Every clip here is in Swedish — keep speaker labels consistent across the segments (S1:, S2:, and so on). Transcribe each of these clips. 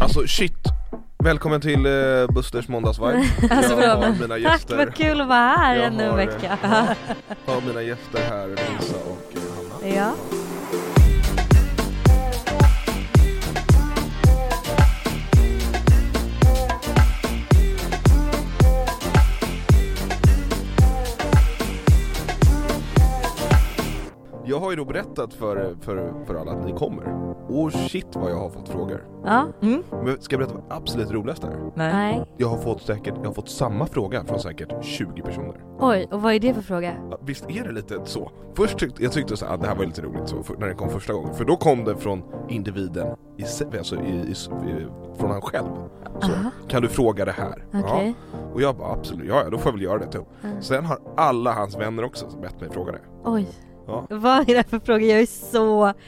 S1: Alltså shit! Välkommen till eh, Busters måndagsvibe.
S2: Alltså,
S1: jag
S2: bra.
S1: har mina
S2: Tack,
S1: gäster,
S2: vad kul att vara här
S1: Jag
S2: ännu en
S1: har, eh,
S2: vecka.
S1: har mina gäster här, Lisa och eh, Hanna.
S2: Ja.
S1: Jag har ju då berättat för, för, för alla att ni kommer. Och shit vad jag har fått frågor.
S2: ja. Mm.
S1: Men ska jag berätta vad absolut roligast är?
S2: Nej.
S1: Jag har fått säkert, jag har fått samma fråga från säkert 20 personer.
S2: Oj, och vad är det för fråga?
S1: Ja, Visst är det lite så? Först tyckte jag tyckte så här, att det här var lite roligt så, för, när den kom första gången. För då kom den från individen, i, se- alltså i, i, i, från han själv. Så,
S2: Aha.
S1: kan du fråga det här? Ja.
S2: Okej.
S1: Och jag bara absolut, ja, ja då får jag väl göra det typ.
S2: Mm.
S1: Sen har alla hans vänner också bett mig fråga det.
S2: Oj.
S1: Ja.
S2: Vad är det för fråga? Jag är så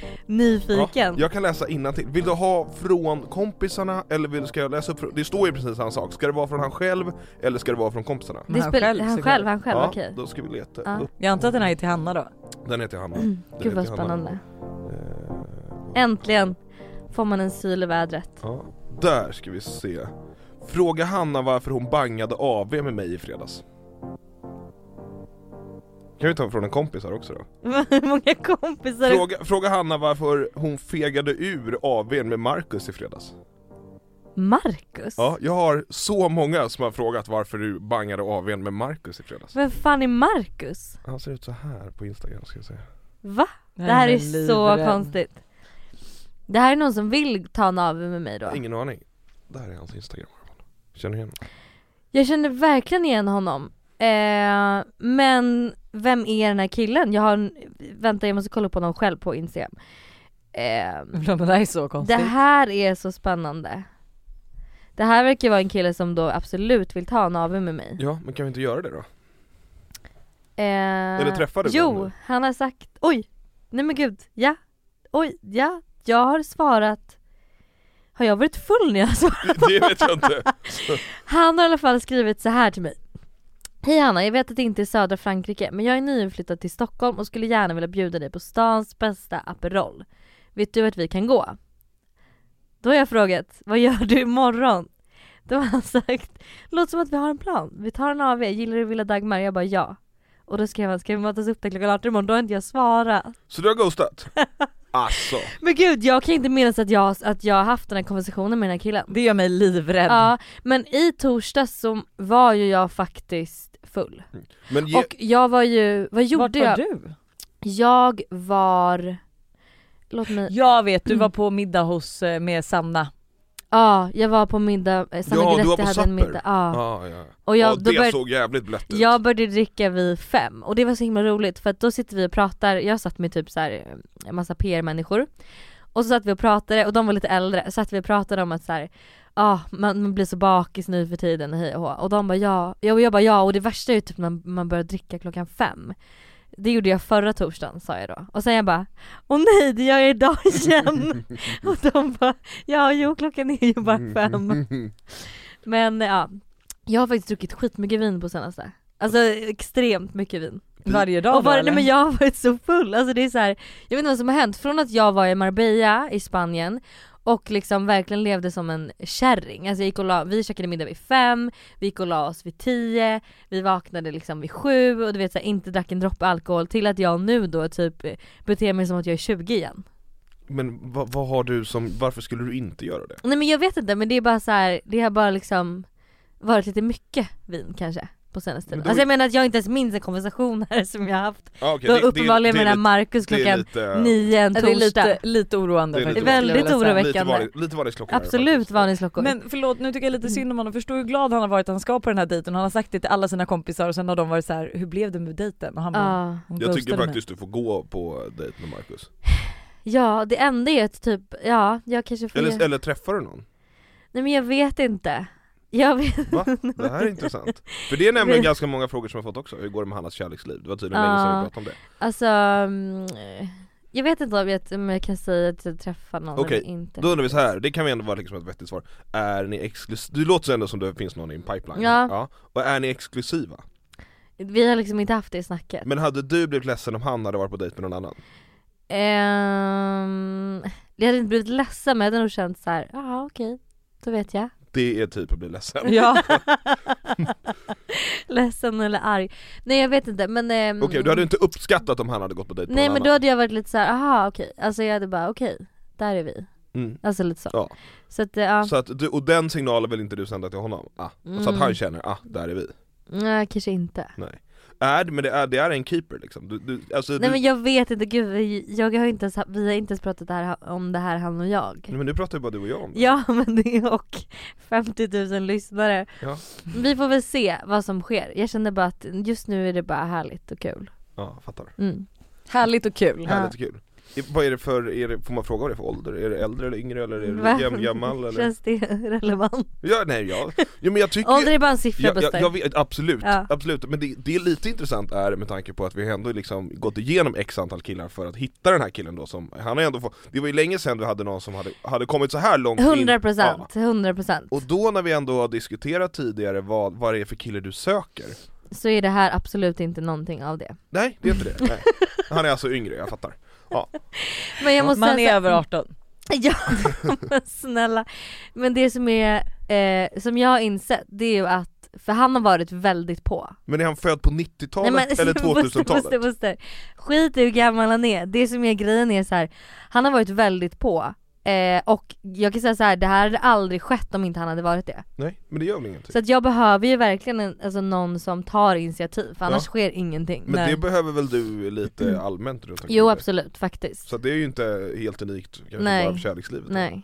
S1: Ja,
S2: nyfiken.
S1: jag kan läsa innantill. Vill du ha från kompisarna eller vill, ska jag läsa upp? från- Det står ju precis samma sak. Ska det vara från han själv eller ska det vara från kompisarna?
S2: Det
S3: han
S2: spel-
S3: själv,
S2: han
S3: såklart.
S2: själv, han själv,
S1: ja,
S2: okej.
S1: då ska vi leta
S2: Ja. Mm.
S1: upp.
S3: Jag antar att den här är till Hanna då?
S1: Den heter Hanna. Den
S2: Gud vad
S1: heter Hanna.
S2: spännande.
S1: Eh,
S2: Äntligen får man en syl i vädret.
S1: Ja. Där ska vi se. Fråga Hanna varför hon bangade AV med mig i fredags. Kan vi ta från en kompis här också då?
S2: Hur många kompisar?
S1: Fråga, fråga Hanna varför hon fegade ur AWn med Marcus i fredags.
S2: Marcus?
S1: Ja, jag har så många som har frågat varför du bangade AWn med Marcus i fredags.
S2: Vem fan är Marcus?
S1: Han ser ut så här på Instagram ska jag säga.
S2: Va? Det här är så
S3: livrädd.
S2: konstigt. Det här är någon som vill ta en AW med mig då.
S1: Ingen aning. Där är hans Instagram. Känner igen honom.
S2: Jag känner verkligen igen honom. Eh, men vem är den här killen? Jag har en, vänta jag måste kolla upp honom själv på Instagram. Eh,
S3: Ja, men Det här är så konstigt.
S2: det här är så spännande. Det här verkar vara en kille som då absolut vill ta en AW med mig.
S1: Ja, men kan vi inte göra det då?
S2: Eh,
S1: Eller träffade du honom
S2: Jo,
S1: nu?
S2: han har sagt, oj, nej men gud, ja, oj, ja, jag har svarat har jag varit full när jag har svarat?
S1: Det vet jag inte.
S2: Han har i alla fall skrivit så här till mig. Hej Hanna, jag vet att det inte är södra Frankrike men jag är nyinflyttad till Stockholm och skulle gärna vilja bjuda dig på stans bästa Aperol. Vet du att vi kan gå? Då har jag frågat, vad gör du imorgon? Då har han sagt, låt som att vi har en plan. Vi tar en AW, gillar du Villa Dagmar? Jag bara ja. Och då skrev han, ska vi mötas upp där klockan 18 imorgon? Då har inte jag svarat.
S1: Så du har ghostat? Alltså.
S2: Men gud, jag kan inte minnas att jag, att jag har haft den här konversationen med den här killen.
S3: Det gör mig livrädd.
S2: Ja, men i torsdags så var ju jag faktiskt full.
S1: Men ge,
S2: Och jag var ju, vad gjorde
S3: Vart var
S2: jag?
S3: du?
S2: Jag var, låt mig, ja,
S3: Jag vet, du var på
S2: Mm.
S3: middag hos, eh, med Sanna.
S2: jag var på middag, eh, Sanna
S1: Ja, du
S2: Gretti
S1: var på
S2: hade en
S1: supper.
S2: middag. Ja.
S1: ah, ja.
S2: Och
S1: ja,
S2: jag,
S1: det
S2: då började,
S1: såg jävligt blött ut.
S2: jag började dricka vid fem och det var så himla roligt för att då sitter vi och pratar, jag satt med typ så här, en massa PR-människor och så satt vi och pratade och de var lite äldre, så satt vi och pratade om att så här, ah, man, man blir så bakis nu för tiden hej och hå. Och de bara ja, jag, och jag bara ja och det värsta är ju typ när man börjar dricka klockan fem. Det gjorde jag förra torsdagen sa jag då. Och sen jag bara, åh nej det gör jag idag igen. och de bara, ja jo klockan är ju bara fem. Men ja, jag har faktiskt druckit skitmycket vin på senaste. Alltså extremt mycket vin.
S3: Varje dag
S2: Och var,
S3: då,
S2: nej, men jag har varit så full, alltså det är så här, jag vet inte vad som har hänt. Från att jag var i Marbella i Spanien och liksom verkligen levde som en kärring. Alltså jag gick och la, vi käkade middag vid fem, vi gick och la oss vid tio, vi vaknade liksom vid sju och du vet så här, inte drack en droppe alkohol till att jag nu då typ eh, beter mig som att jag är 20 igen.
S1: Men vad, vad har du som, varför skulle du inte göra det?
S2: Nej men jag vet inte men det är bara så här, det har bara liksom varit lite mycket vin kanske på senaste
S1: Men
S2: tiden.
S1: då-
S2: Alltså jag menar att jag inte ens minns en konversation här som jag har haft.
S1: Ah, okay.
S2: Då uppenbarligen med den här Marcus klockan nio en
S3: Ja, det
S2: torsdag.
S3: är lite, lite oroande.
S1: Det är
S3: faktiskt,
S1: lite
S3: skulle jag
S2: Väldigt
S3: vilja säga.
S2: oroväckande.
S1: Lite, varning, lite varningsklocka här
S2: Absolut
S1: faktiskt.
S2: varningsklockor.
S3: Men förlåt, nu tycker jag
S2: Mm.
S3: lite synd om honom. Förstår hur glad han har varit att han ska på den här dejten. Han har sagt det till alla sina kompisar och sen har de varit så här: hur blev det med dejten? Och han bara,
S2: ja.
S1: Jag
S3: hon
S1: tycker
S3: ghostade mig.
S1: faktiskt du får gå på dejt med Marcus.
S2: ja, det enda är att typ, ja, jag kanske får
S1: Eller,
S2: ge...
S1: eller träffar du någon?
S2: Nej men jag vet inte. Jag vet
S1: Va? Det här är intressant. För det är nämligen ganska många frågor som jag fått också. Hur går det med Hannas kärleksliv? Det var tydligen länge sedan
S2: Ja.
S1: vi pratade om det.
S2: Alltså, mm, jag vet inte om jag, om jag kan säga att jag träffar någon
S1: Okej,
S2: eller inte.
S1: Då undrar vi så här, det kan vi ändå vara liksom ett vettigt svar. Är ni exklusiva? Du låter ändå som det finns någon i en pipeline.
S2: Ja.
S1: Och är ni exklusiva?
S2: Vi har liksom inte haft det snacket.
S1: Men hade du blivit ledsen om han hade varit på dejt med någon annan?
S2: Ehm, jag hade inte blivit ledsen men jag hade nog känt såhär, ja okej. Då vet jag.
S1: Det är typ att bli ledsen.
S2: Mm.
S3: Ja.
S2: Ledsen eller arg. Nej jag vet inte men... ehm,
S1: Okej, du hade inte uppskattat om han hade gått på dejt på
S2: Nej
S1: någon
S2: men då
S1: annan.
S2: hade jag varit lite så här, aha okej. Alltså jag hade bara okej, där är vi.
S1: Mm.
S2: Alltså lite så.
S1: Ja.
S2: Så att eh, ja,
S1: Så att du, och den signalen vill inte du sända till honom? Ah. Så att
S2: Mm.
S1: han känner, ah, där är vi.
S2: nej kanske inte.
S1: Är, det- men det är, det är en keeper liksom. Du, du, alltså,
S2: Nej
S1: du,
S2: men jag vet inte, gud vi- jag har inte ens, vi har inte ens pratat det här, om det här han och jag.
S1: Nej, men nu pratar ju bara du och jag om det.
S2: Ja men det är och 50 000 lyssnare.
S1: Ja.
S2: Vi får väl se vad som sker. Jag känner bara att just nu är det bara härligt och kul.
S1: Ja, fattar.
S2: Mm.
S3: Härligt och kul.
S1: Härligt och kul. I- Vad är det för, är det, får man fråga vad det är för ålder? Är det äldre eller yngre eller är
S2: Va?
S1: det jäm, gammal eller?
S2: Känns det relevant?
S1: Ja, nej jag, ja, men jag tycker
S2: Ålder är bara en siffra
S1: jag, jag,
S2: Buster.
S1: jag vet, absolut,
S2: Ja.
S1: absolut. Men det, det är lite intressant är med tanke på att vi har ändå liksom gått igenom x antal killar för att hitta den här killen då som, han har ändå fått, det var ju länge sedan vi hade någon som hade, hade kommit så här långt in
S2: 100
S1: Ja.
S2: procent, 100 procent.
S1: Och då när vi ändå har diskuterat tidigare vad, vad det är för kille du söker
S2: Så är det här absolut inte någonting av det.
S1: Nej, det är inte det, nej. Han är alltså yngre, jag fattar
S2: Men jag måste
S3: Man
S2: säga
S3: är
S2: så-
S3: över 18.
S2: Ja, men snälla. Men det som är, eh, som jag har insett, det är ju att, för han har varit väldigt på.
S1: Men är han född på 90-talet eller
S2: Buster,
S1: 2000-talet?
S2: Buster, Buster. Skit i hur gammal han är, det som är grejen är så här. han har varit väldigt på. Eh, och jag kan säga så här, det här hade aldrig skett om inte han hade varit det.
S1: Nej, men det gör väl ingenting?
S2: Så att jag behöver ju verkligen en, alltså någon som tar initiativ, för annars sker ingenting.
S1: Men
S3: Nej.
S1: det behöver väl du lite allmänt runt omkring
S2: Mm. Jo
S1: dig?
S2: absolut, faktiskt.
S1: Så det är ju inte helt unikt kanske
S2: Nej.
S1: bara för kärlekslivet
S2: Nej.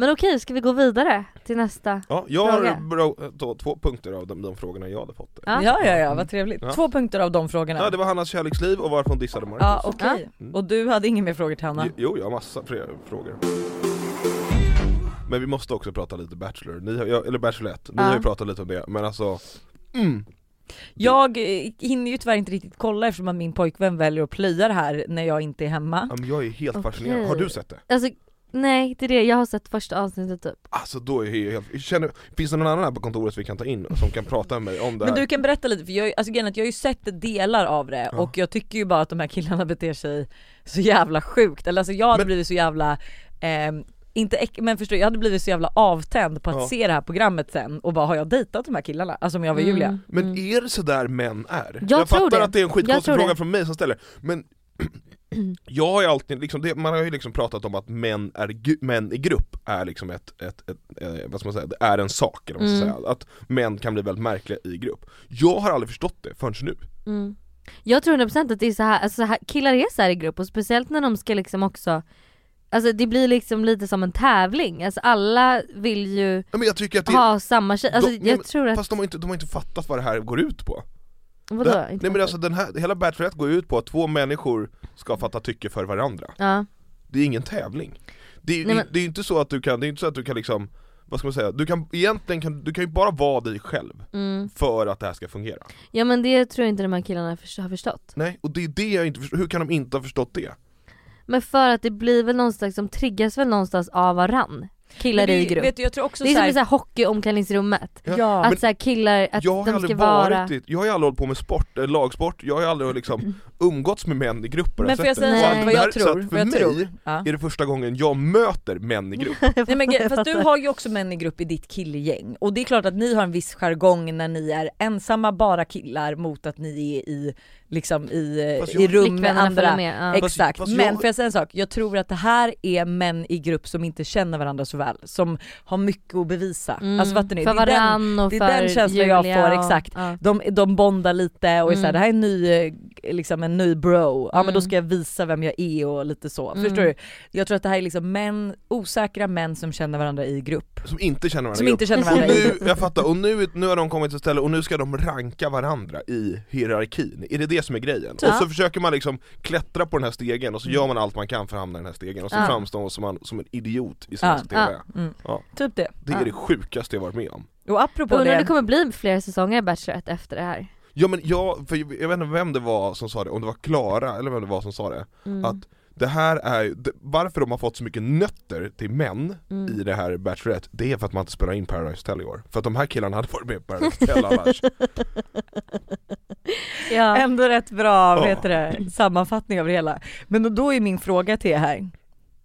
S2: Men okej, ska vi gå vidare till nästa?
S1: Ja, jag har
S2: Fråga.
S1: bra, då, två punkter av de, de frågorna jag hade fått
S2: Ja.
S3: Ja ja ja, vad
S1: Ja.
S3: trevligt. Två punkter av de frågorna.
S1: Ja, det var Hannas kärleksliv och varför hon dissade Marcus
S3: Ja okej.
S1: Mm.
S3: Och du hade inga mer frågor till Hanna?
S1: Jo, Jo, jag har massa fler frågor Men vi måste också prata lite Bachelor, ni har, ja, eller Bachelorette, ni
S2: Ja.
S1: har ju pratat lite om det, men alltså mm.
S3: Jag eh, hinner ju tyvärr inte riktigt kolla eftersom att min pojkvän väljer att plöja det här när jag inte är hemma.
S1: ja, men Jag är helt
S2: Okej.
S1: fascinerad, har du sett det?
S2: Alltså, nej det är det, jag har sett första avsnittet typ.
S1: Alltså då är jag helt, känner, finns det någon annan här på kontoret vi kan ta in som kan prata med mig om det
S3: Men
S1: här?
S3: du kan berätta lite, för jag, alltså, grejen är att jag har ju sett delar av det
S1: Ja.
S3: och jag tycker ju bara att de här killarna beter sig så jävla sjukt. Eller alltså jag hade
S1: Men-
S3: blivit så jävla, ehm, inte äck, men förstår du, jag hade blivit så jävla avtänd på att
S1: Ja.
S3: se det här programmet sen och bara har jag dejtat de här killarna? Alltså om jag var
S2: Mm.
S3: Julia.
S1: Men är det sådär män är?
S2: Jag tror
S1: fattar
S2: det.
S1: att det är en
S2: Jag
S1: skitkonstig
S2: tror
S1: fråga
S2: det.
S1: från mig som ställer, men jag har ju alltid, liksom, det, man har ju liksom pratat om att män, är, gu- män i grupp är liksom ett, ett, ett, eh, vad ska man säga, det är en sak, eller vad man ska
S2: Mm.
S1: säga. att män kan bli väldigt märkliga i grupp. Jag har aldrig förstått det förrän nu.
S2: Mm. Jag tror 100% att det är så här, alltså så här, killar är så här i grupp och speciellt när de ska liksom också Alltså det blir liksom lite som en tävling, alltså alla vill ju
S1: Ja, Men jag tycker att det,
S2: ha samma tjej, alltså
S1: De- nej,
S2: jag
S1: men-
S2: tror att,
S1: fast de har, inte, de har inte fattat vad det här går ut på.
S2: vadå?
S1: det,
S2: Inte
S1: nej men
S2: fattar.
S1: alltså den här, hela Bachelorette går ut på att två människor ska fatta tycke för varandra.
S2: ja.
S1: Det är ingen tävling. Det är,
S2: Nej, men-
S1: det är inte så att du kan, det är inte så att du kan liksom, vad ska man säga, du kan egentligen kan, du kan ju bara vara dig själv
S2: Mm.
S1: för att det här ska fungera.
S2: ja men det tror jag inte de här killarna först- har förstått.
S1: Nej, och det är det jag inte förstår, hur kan de inte ha förstått det?
S2: Men för att det blir väl någonstans, de triggas väl någonstans av varann, killar
S3: Men det-
S2: i grupp.
S3: Vet du, jag tror också
S2: det är som i
S3: såhär,
S2: så här hockey i omklädningsrummet.
S1: Ja.
S3: ja.
S2: att så här killar, att
S1: jag har
S2: de ska
S1: aldrig
S2: vara...
S1: varit i, jag har ju aldrig hållit på med sport, eh, lagsport, jag har ju aldrig liksom umgåtts med män i grupper
S3: Mm. Men får jag säga
S2: Nej.
S3: så här, vad
S1: Det här-
S3: jag
S1: så
S3: tror?
S1: att
S3: Vad jag
S1: för mig
S3: tror? Ja.
S1: är det första gången jag möter män i grupp.
S3: Nej, men, gre- fast du
S2: fattar.
S3: har ju också män i grupp i ditt killgäng och det är klart att ni har en viss jargong när ni är ensamma bara killar mot att ni är i, liksom i,
S1: Fast
S3: i
S1: jag-
S3: rum med
S2: Flickvännerna följer
S3: andra.
S2: med, ja.
S3: Exakt,
S1: Fast- fast jag-
S3: men får jag säga en sak? Jag tror att det här är män i grupp som inte känner varandra så väl, som har mycket att bevisa.
S2: Mm,
S3: Alltså fattar ni?
S2: För
S3: Det är den-
S2: varann och
S3: det är
S2: för
S3: den känslan jag
S2: Julia
S3: får,
S2: och-
S3: exakt.
S2: Ja.
S3: de, de bondar lite och
S2: Mm.
S3: är såhär, det här är en ny, eh, liksom en ny bro, ja men då
S2: Mm.
S3: ska jag visa vem jag är och lite så.
S2: Mm.
S3: Förstår du? Jag tror att det här är liksom män, osäkra män som känner varandra i grupp.
S1: Som inte känner varandra
S3: Som
S1: i grupp.
S3: inte känner
S1: Och
S3: varandra i grupp.
S1: nu, jag fattar, och nu, nu har de kommit till ett ställe och nu ska de ranka varandra i hierarkin, är det det som är grejen?
S2: Ja.
S1: Och så försöker man liksom klättra på den här stegen och så
S3: Mm.
S1: gör man allt man kan för att hamna i den här stegen och så
S2: Ja.
S1: framstår man som, man som en idiot i svensk
S2: Ja.
S1: TV
S3: Mm.
S1: Ja.
S3: Typ det.
S1: Det är det sjukaste jag varit med om
S3: Och apropå
S2: Undrar om det
S3: det,
S2: kommer bli fler säsonger i Bachelorette efter det här.
S1: Ja men jag, för jag vet inte vem det var som sa det, om det var Klara eller vem det var som sa det
S2: Mm.
S1: Att det här är, ju- det, varför de har fått så mycket nötter till män
S2: Mm.
S1: i det här Bachelorette, det är för att man inte spelar in Paradise Hotel i år. För att de här killarna hade varit med i Paradise Hotel annars.
S2: Ja.
S3: ändå rätt bra
S1: Ja.
S3: vad heter det, sammanfattning av det hela. Men då- då är min fråga till er här.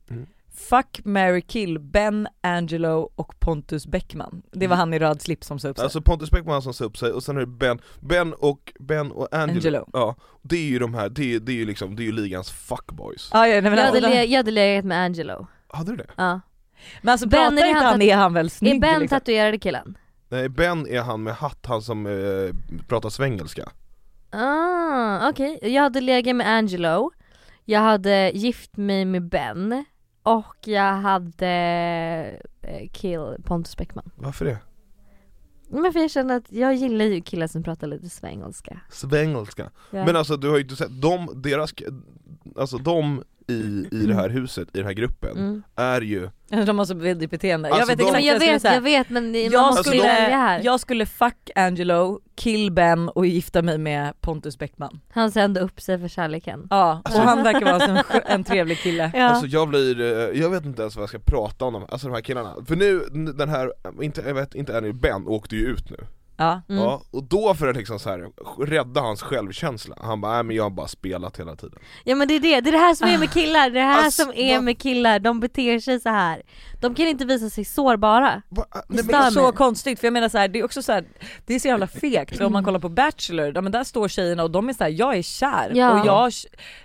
S1: Mm.
S3: Fuck, Mary kill, Ben Angelo och Pontus Bäckman. Det var han i röd slips som sa upp sig.
S1: Mm. Alltså Pontus Bäckman som sa upp sig och sen är det Ben, Ben och, Ben och Angelo.
S3: Angelo.
S1: Ja, det är ju de här, det är, det är ju liksom, det är ju ligans fuckboys.
S3: Ah, ja, nej, men,
S2: Jag hade,
S3: alltså,
S2: le-
S3: den,
S2: jag hade legat med Angelo.
S1: Hade du det?
S2: Ja.
S3: men alltså
S2: Ben, är
S3: pratar
S2: det
S3: inte
S2: han
S3: han
S2: tat-
S3: är han väl snygg?
S2: Är Ben
S3: liksom?
S2: tatuerade killen?
S1: Nej, Ben är han med hatt, han som eh, pratar svengelska.
S2: Ah, okej. Jag hade legat med Angelo, jag hade gift mig med Ben och jag hade eh, kill Pontus Bäckman.
S1: Varför det?
S2: Men för jag känner att jag gillar ju killar som pratar lite svengelska.
S1: Svengelska.
S2: Ja.
S1: Men alltså du har ju inte sett, de, deras, alltså de i, i det här huset, i den här gruppen,
S2: Mm.
S1: är ju
S3: De har så väldigt beteende.
S1: Alltså,
S3: jag vet
S1: de-
S2: Men
S3: exakt
S2: jag
S3: vad jag skulle
S2: vet,
S3: säga.
S2: jag vet men jag man
S3: Jag
S2: måste
S1: skulle-
S2: skulle... välja här.
S3: Jag skulle fuck Angelo, kill Ben och gifta mig med Pontus Bäckman.
S2: Han sände upp sig för kärleken.
S3: Ja,
S1: Alltså-
S3: och han verkar vara en, skö- en trevlig kille.
S2: Ja.
S1: Alltså jag blir, eh, jag vet inte ens vad jag ska prata om, dem, alltså de här killarna. För nu, n- den här, inte, jag vet inte, Annie Ben åkte ju ut nu.
S3: Ja.
S2: Mm.
S1: Ja, och då för att liksom så här, rädda hans självkänsla, han bara nej men jag har bara spelat hela tiden.
S2: Ja men det är det, det är det här som är med killar, det är det här
S1: Alltså,
S2: som är
S1: vad-
S2: med killar, de beter sig så här. De kan inte visa sig sårbara.
S1: Va? Ah, Nej,
S3: Det
S1: men,
S3: är
S2: Stör
S3: så
S2: mig.
S3: konstigt för jag menar så här, det är också så här, det är så jävla fegt för om man kollar på Bachelor, ja, men där står tjejerna och de är så här, jag är kär
S2: Ja.
S3: och jag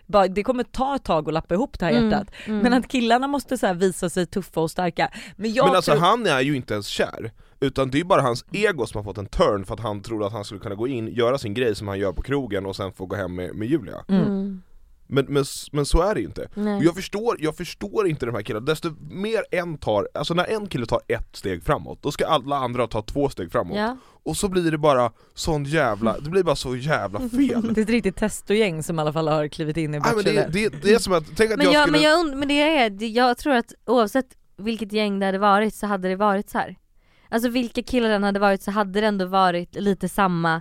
S3: bara, det kommer ta ett tag att lappa ihop det här
S2: Mm,
S3: hjärtat.
S2: mm.
S3: Men att killarna måste så här visa sig tuffa och starka. Men jag
S1: men alltså
S3: tror,
S1: han är ju inte ens kär, utan det är bara hans ego som har fått en turn för att han trodde att han skulle kunna gå in, göra sin grej som han gör på krogen och sen få gå hem med, med Julia.
S3: Mm.
S2: Mm.
S1: Men, men, s- men så är det ju inte.
S2: Nej.
S1: Och jag förstår, jag förstår inte de här killarna, desto mer en tar, alltså när en kille tar ett steg framåt, då ska alla andra ta två steg framåt.
S2: Ja.
S1: Och så blir det bara sån jävla, det blir bara så jävla
S2: Mm.
S1: fel.
S3: det är ett riktigt testogäng som i alla fall har klivit in i
S1: Nej,
S3: Bachelor.
S1: men det, det, det är som att, tänk att
S2: Men,
S1: jag,
S2: jag,
S1: skulle...
S2: men, jag und- men det är, det- jag tror att oavsett vilket gäng det hade varit så hade det varit så här. Alltså vilka killar den hade varit så hade det ändå varit lite samma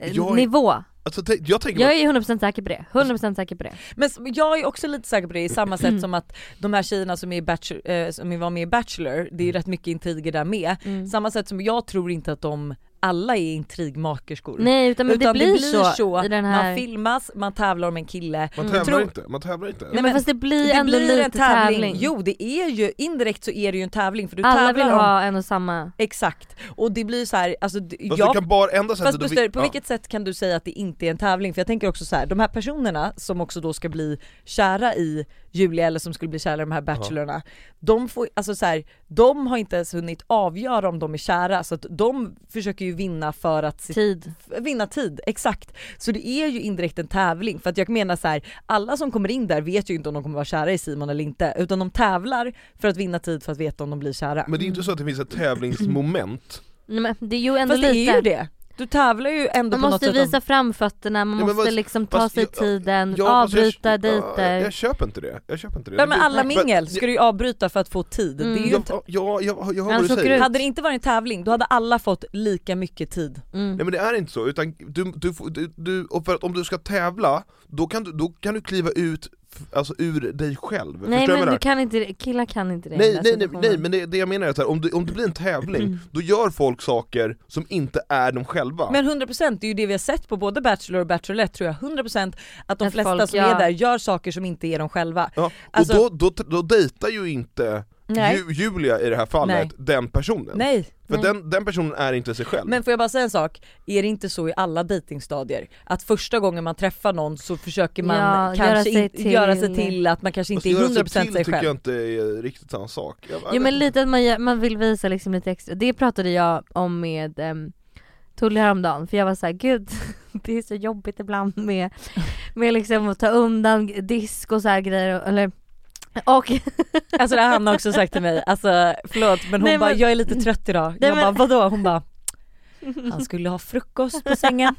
S2: eh,
S1: Jag är-
S2: nivå.
S1: alltså, tänk, jag tänker
S2: Jag är 100% säker på det, 100% säker på det.
S3: Men s- jag är också lite säker på det i samma sätt
S2: Mm.
S3: som att de här tjejerna som, är i bachelor, eh, som var med i Bachelor, det är ju
S1: Mm.
S3: rätt mycket intriger där med.
S2: Mm.
S3: Samma sätt som jag tror inte att de alla är intrigmakerskor.
S2: Nej utan, men
S3: Utan
S2: det, blir så, i den här...
S3: man filmas, man tävlar om en kille.
S1: man
S2: Mm.
S1: tävlar
S3: Tror-
S1: inte, man tävlar inte.
S2: Nej, men
S3: men
S2: fast det blir
S3: det
S2: ändå
S3: blir
S2: lite
S3: en tävling.
S2: tävling.
S3: Jo det är ju, indirekt så är det ju en tävling för du
S2: Alla
S3: tävlar
S2: vill
S3: om,
S2: ha en och samma.
S3: exakt. Och det blir så här, alltså d-
S1: Fast
S3: jag
S1: du kan bara, enda sättet
S3: Fast
S1: att vi-
S3: Buster, på
S1: ja.
S3: vilket sätt kan du säga att det inte är en tävling? För jag tänker också så här, de här personerna som också då ska bli kära i Julia eller som skulle bli kära i de här bachelorna, de får, alltså så här, de har inte ens hunnit avgöra om de är kära så att de försöker ju vinna för att se-
S2: Tid.
S3: f- vinna tid, exakt. Så det är ju indirekt en tävling för att jag menar så här, alla som kommer in där vet ju inte om de kommer vara kära i Simon eller inte utan de tävlar för att vinna tid för att veta om de blir kära.
S1: Men det är ju inte så att det finns ett tävlingsmoment.
S2: Nej, men det är ju ändå
S3: Fast det
S2: lite.
S3: är ju det. Du tävlar ju
S2: Man
S3: ändå på något
S2: måste
S3: sätt om-
S2: visa framfötterna, man
S1: Ja, men
S2: måste
S1: fast-
S2: liksom ta
S1: fast
S2: sig
S1: jag-
S2: tiden,
S1: Ja, fast
S2: Mm, avbryta
S1: jag,
S2: dejter.
S1: Jag, jag köper inte det, jag köper inte det.
S3: Ja, men
S1: Det-
S3: alla
S1: men-
S3: mingel ska du ju avbryta för att få tid.
S2: Mm.
S3: Det är ju
S1: Jag,
S3: inte...
S1: jag, jag, jag, jag hör
S2: Han
S1: vad du
S2: såg
S1: säger.
S2: ut.
S3: Hade det inte varit en tävling då hade alla fått lika mycket tid.
S2: mm.
S1: Nej men det är inte så, utan du, du, får- du, du och för att om du ska tävla, då kan du, då kan du kliva ut, f- alltså ur dig själv. Förstår du vad
S2: Nej
S1: jag
S2: men
S1: menar?
S2: du kan inte det, killar kan inte det i den
S1: Nej,
S2: där
S1: nej, nej,
S2: situationen.
S1: nej men det, det jag menar är att så här, om, du, om det blir en tävling,
S3: Mm.
S1: då gör folk saker som inte är de själva.
S3: Men 100% det är ju det vi har sett på både Bachelor och Bachelorette tror jag. 100% att de
S2: Att
S3: flesta
S2: folk
S3: som
S2: gör-
S3: är där gör saker som inte är de själva.
S1: ja, och
S3: alltså-
S1: då, då, då dejtar ju inte
S3: Nej.
S1: Ju, Julia i det här fallet den personen.
S3: Nej.
S1: För
S2: Nej.
S1: Den, den personen är inte sig själv.
S3: Men får jag bara säga en sak? Är det inte så i alla datingstadier Att första gången man träffar någon så försöker man
S2: Ja,
S3: kanske
S2: göra
S3: göra
S2: sig
S3: sig,
S2: till-
S3: till... göra sig till att man kanske inte
S1: Fast
S3: är
S1: Alltså, göra
S3: 100% sig,
S1: till tycker
S3: själv.
S1: jag inte är riktigt samma sak. Jag,
S2: Jo men lite att man, gör- man vill visa liksom lite extra, det pratade jag om med um, Tully häromdagen för jag var såhär gud det är så jobbigt ibland med, med liksom att ta undan disk och så här grejer och, eller och
S3: Alltså det har Hanna också sagt till mig, alltså förlåt men hon
S2: Nej,
S3: bara
S2: men-
S3: jag är lite trött idag.
S2: Nej,
S3: jag
S2: men-
S3: bara vadå? Hon bara han skulle ha frukost på sängen.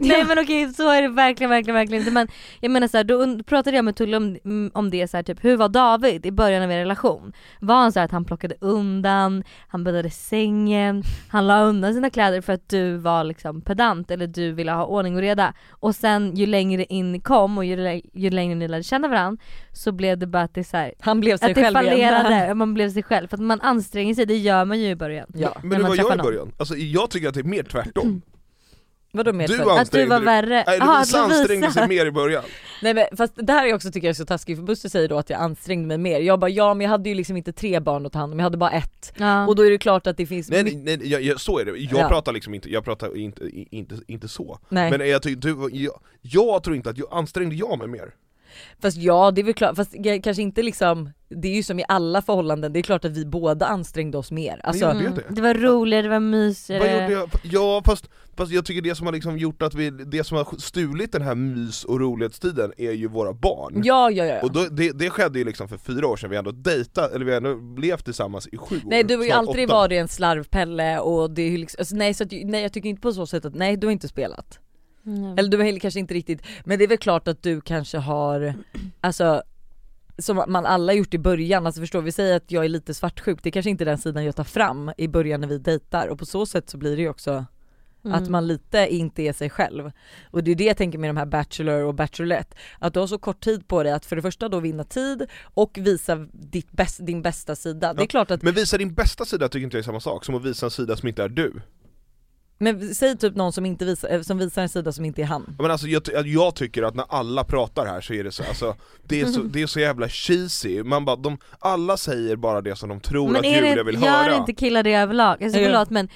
S2: Nej men okej så är det verkligen, verkligen, verkligen inte men jag menar såhär, då und- pratade jag med Tulle om, mm, om det så här, typ hur var David i början av er relation? Var han så här att han plockade undan, han bäddade sängen, han la undan sina kläder för att du var liksom pedant eller du ville ha ordning och reda och sen ju längre in ni kom och ju, lä- ju längre ni lärde känna varandra så blev det bara att det så här,
S3: Han blev sig
S2: att det
S3: själv igen.
S2: fallerade, man blev sig själv för att man anstränger sig, det gör man ju i början.
S3: Ja.
S1: men
S2: när
S1: det
S2: man
S1: var
S2: träffar
S1: jag i
S2: någon.
S3: Mm.
S1: början, alltså, jag tycker att det är mer tvärtom.
S3: Vadå med
S1: Du
S3: för?
S2: Att du
S1: ansträngde
S2: var
S1: dig.
S2: värre.
S1: Nej,
S2: Jaha,
S1: Lovisa ansträngde sig mer i början.
S3: Nej men fast det här är också tycker jag är så taskigt för Buster säger då att jag ansträngde mig mer. Jag bara ja men jag hade ju liksom inte tre barn att ta hand om, jag hade bara ett.
S2: Ja.
S3: Och då är det klart att det finns
S1: Nej,
S3: mycket-
S1: nej, nej jag, jag, så är det, jag
S3: Ja.
S1: pratar liksom inte, jag pratar inte, i- inte, inte så.
S3: nej.
S1: Men jag, tycker du, jag, jag tror inte att, jag, ansträngde jag mig mer?
S3: Fast ja det är väl klart, fast jag- kanske inte liksom, det är ju som i alla förhållanden, det är klart att vi båda ansträngde oss mer. Alltså,
S1: gjorde jag det?
S2: Mm. det var roligare, det var
S1: Vad gjorde
S2: mysigare.
S1: jag? Ja fast, fast jag tycker det som har liksom gjort att vi, det som har stulit den här mys och rolighetstiden är ju våra barn.
S3: ja ja ja. ja.
S1: Och då, det, det skedde ju liksom för fyra år sedan, vi ändå dejtat, eller vi ändå levt tillsammans i sju år.
S3: Nej du har ju
S1: snart
S3: alltid
S1: åtta.
S3: varit en slarvpelle och det är ju liksom, alltså, nej, så att, nej jag tycker inte på så sätt att nej du har inte spelat.
S2: Mm.
S3: Eller du har heller kanske inte riktigt, men det är väl klart att du kanske har, alltså som man alla gjort i början, alltså förstår vi, vi säger att jag är lite svartsjuk, det är kanske inte är den sidan jag tar fram i början när vi dejtar och på så sätt så blir det ju också
S2: Mm.
S3: att man lite inte är sig själv. Och det är det jag tänker med de här Bachelor och Bachelorette, att du har så kort tid på dig att för det första då vinna tid och visa ditt bäst, din bästa sida. Det är
S1: Ja.
S3: klart att,
S1: Men visa din bästa sida tycker inte jag är samma sak som att visa en sida som inte är du.
S3: men säg typ någon som, inte visar, eh, som visar en sida som inte är han.
S1: Ja, Men alltså, jag, ty- jag tycker att när alla pratar här så är det så, alltså, det, är så det är så jävla cheesy, man bara, de, alla säger bara det som de tror att
S2: är det-
S1: Julia vill
S2: gör
S1: höra
S2: inte killar det överlag? Alltså
S3: Ja.
S2: förlåt men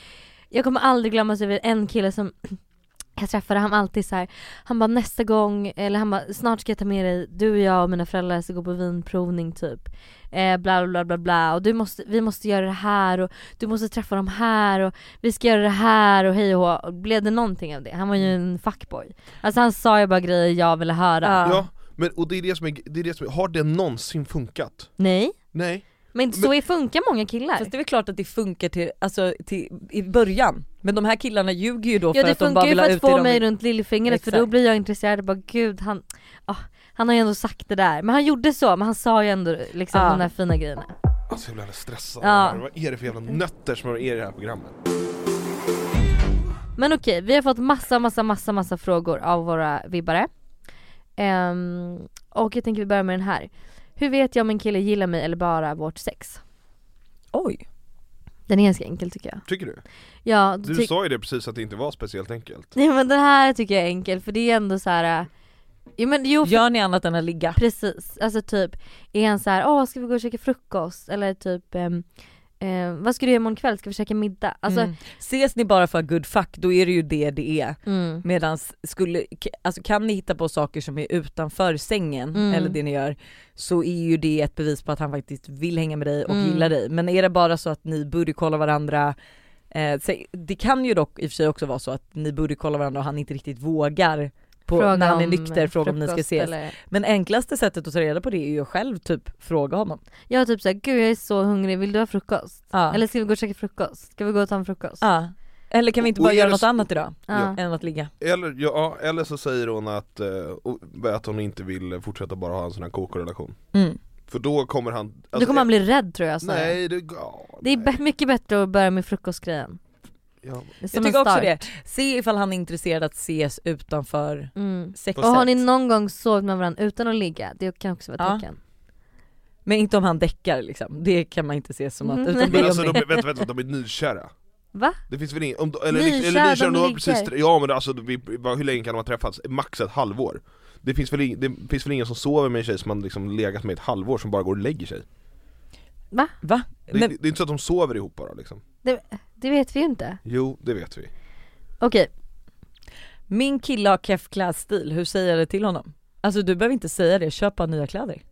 S2: jag kommer aldrig glömma sig vid en kille som jag träffade, han var alltid så här. han bara nästa gång, eller han bara snart ska jag ta med dig, du och jag och mina föräldrar ska gå på vinprovning typ. Eh, bla bla bla bla och du måste, vi måste göra det här och du måste träffa dem här och vi ska göra det här och hej och hå. Och Blev det någonting av det? Han var ju en fuckboy. Alltså han sa ju bara grejer jag ville höra.
S1: Ja, men, och det är det, som är, det är det som är, har det någonsin funkat?
S2: Nej,
S1: Nej,
S2: men så är- funkar många killar.
S3: Fast det är väl klart att det funkar till, alltså, till, i början. Men de här killarna ljuger ju då
S2: Ja
S3: för
S2: det
S3: att de bara
S2: funkar ju
S3: vill
S2: för
S3: ha
S2: att
S3: ut det
S2: få
S3: de
S2: mig
S3: vill.
S2: runt lillfingret för då
S3: Exakt.
S2: blir jag intresserad och bara gud han, ah, han har ju ändå sagt det där. Men han gjorde så, men han sa ju ändå liksom
S3: Ja.
S2: de där fina grejerna.
S1: alltså jag blir alldeles stressad
S2: Ja.
S1: av det här. vad är det för jävla nötter som är i det här programmet?
S2: Men okej, vi har fått massa massa massa massa frågor av våra vibbare. Ehm, och jag tänker vi börjar med den här. Hur vet jag om en kille gillar mig eller bara vårt sex?
S3: Oj.
S2: Den är ganska enkel tycker jag.
S1: Tycker du?
S2: Ja,
S1: Du
S2: tyck-
S1: sa ju det precis att det inte var speciellt enkelt
S2: Nej men den här tycker jag är enkel för det är ändå så här. äh, Jo men jo
S3: Gör ni annat än att ligga?
S2: Precis, alltså typ är han så här, åh ska vi gå och käka frukost? Eller typ, ehm, ehm, vad ska du göra imorgon kväll? Ska vi käka middag? Alltså,
S3: mm. Ses ni bara för good fuck, då är det ju det det är.
S2: mm.
S3: Medan skulle, k- alltså kan ni hitta på saker som är utanför sängen,
S2: Mm.
S3: eller det ni gör, så är ju det ett bevis på att han faktiskt vill hänga med dig och
S2: Mm.
S3: gillar dig. Men är det bara så att ni borde kolla varandra, eh, sä- det kan ju dock i och för sig också vara så att ni borde kolla varandra och han inte riktigt vågar på,
S2: Fråga
S3: när han är
S2: om
S3: nykter fråga om ni ska
S2: frukost
S3: ses.
S2: eller-
S3: Men enklaste sättet att ta reda på det är ju att själv typ fråga honom.
S2: Jag är typ såhär, gud jag är så hungrig, vill du ha frukost?
S3: Ja. Eller,
S2: Eller ska vi gå och käka frukost? Ska vi gå och ta en frukost?
S3: ja. Eller kan vi inte
S1: Och
S3: bara
S1: är
S3: göra
S1: det
S3: något
S1: så-
S3: annat idag
S2: Ja.
S3: än att ligga?
S1: Eller, ja, eller så säger hon att, eh, och- att hon inte vill fortsätta bara ha en sån här kk-relation
S3: Mm.
S1: För då kommer han... alltså,
S2: Då kommer han bli rädd tror jag så.
S1: Nej, det, ja,
S2: Det är
S1: nej.
S2: bä- mycket bättre att börja med frukostgrejen.
S1: Ja,
S2: Det är som
S3: Jag
S2: en
S3: tycker också
S2: start.
S3: det. Se ifall han är intresserad att ses utanför
S2: Mm.
S3: sexet.
S2: Och har ni någon gång sovit med varandra utan att ligga? Det kan också vara
S3: Ja.
S2: ett tecken.
S3: Men inte om han däckar liksom, det kan man inte se som att,
S2: Mm.
S3: utan det
S1: Men
S3: är
S1: alltså
S3: om
S1: de,
S3: det.
S1: vänta, vänta, vänta, de är nykära.
S2: Va?
S1: Det finns väl ingen, om, eller,
S2: Nykära,
S1: eller nykära,
S2: de
S1: de har
S2: ligger.
S1: precis, ja men alltså vi, vad- hur länge kan de ha träffats? Max ett halvår. Det finns, väl ing, det finns väl ingen som sover med en tjej som man liksom legat med i ett halvår som bara går och lägger sig?
S3: Va?
S1: Det,
S3: Men,
S1: det, det är inte så att de sover ihop bara liksom.
S2: Det vet vi ju inte.
S1: Jo, det vet vi.
S2: Okej,
S3: min kille har keff klädstil, hur säger jag det till honom? Alltså du behöver inte säga det, köp bara nya kläder.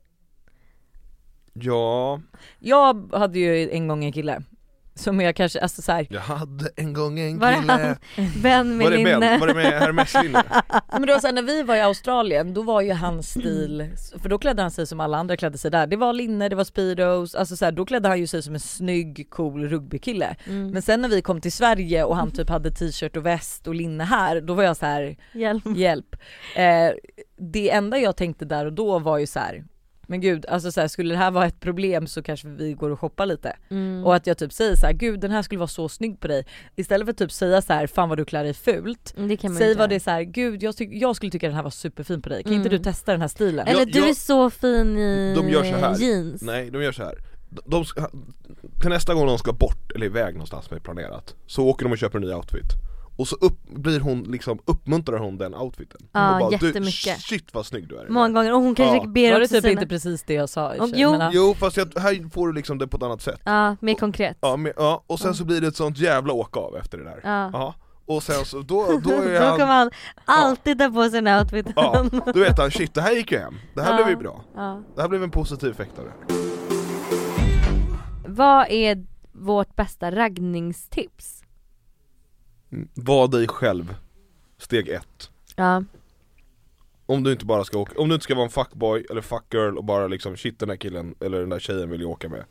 S1: Ja,
S3: Jag hade ju en gång en kille som jag kanske, alltså så här,
S1: jag hade en gång en
S2: Var det
S1: kille
S2: Ben med
S1: Var det
S2: linne. Alltså.
S1: Ben? Var det med Hermes-linne?
S3: Ja, Men då, så här, när vi var i Australien, då var ju hans stil, för då klädde han sig som alla andra klädde sig där. Det var linne, det var speedos, alltså så här, då klädde han ju sig som en snygg, cool rugbykille.
S2: Mm.
S3: Men sen när vi kom till Sverige och han typ hade t-shirt och väst och linne här, då var jag så här,
S2: Hjälp.
S3: hjälp. Eh, det enda jag tänkte där och då var ju så här, men gud, alltså så här, skulle det här vara ett problem så kanske vi går och shoppar lite.
S2: Mm.
S3: Och att jag typ säger så här, gud den här skulle vara så snygg på dig. Istället för att typ säga så här, fan vad du klär dig fult.
S2: Mm, Det kan man ju
S3: Säg
S2: inte
S3: vad
S2: göra.
S3: det är såhär, gud jag, tyck- jag skulle tycka den här var superfin på dig, kan inte
S2: Mm.
S3: du testa den här stilen?
S1: Ja.
S2: Eller du
S1: jag-
S2: är så fin i
S1: De gör så här.
S2: jeans.
S1: Nej, de gör så här. De, de, ska- till nästa gång de ska bort eller iväg någonstans med planerat, så åker de och köper en ny outfit. Och så upp, blir hon liksom, uppmuntrar hon den outfiten.
S2: Ja,
S1: och
S2: jättemycket.
S1: Du, shit vad snygg du är.
S2: Många gånger, och hon kanske
S1: Ja.
S2: ber
S3: Var det
S2: också
S3: typ
S2: sina...
S3: inte precis det jag sa i och för sig,
S2: Jo.
S3: men, ja.
S1: Jo fast jag, här får du liksom det på ett annat sätt.
S2: Ja, mer konkret.
S1: Ja, men, ja och sen
S2: Ja.
S1: så blir det ett sånt jävla åk av efter det där.
S2: Ja.
S1: Ja. Och sen så, då, då är
S2: Då kommer
S1: han,
S2: han alltid ta på sig den här outfiten.
S1: ja, då vet han shit det här gick ju hem, det här
S2: Ja.
S1: blev ju bra.
S2: Ja.
S1: Det här blev en positiv effekt av det.
S2: Vad är vårt bästa raggningstips?
S1: Mm. Var dig själv, steg ett.
S2: Ja,
S1: Om du inte bara ska åka, om du inte ska vara en fuckboy eller fuckgirl och bara liksom shit den där killen eller den där tjejen vill jag åka med.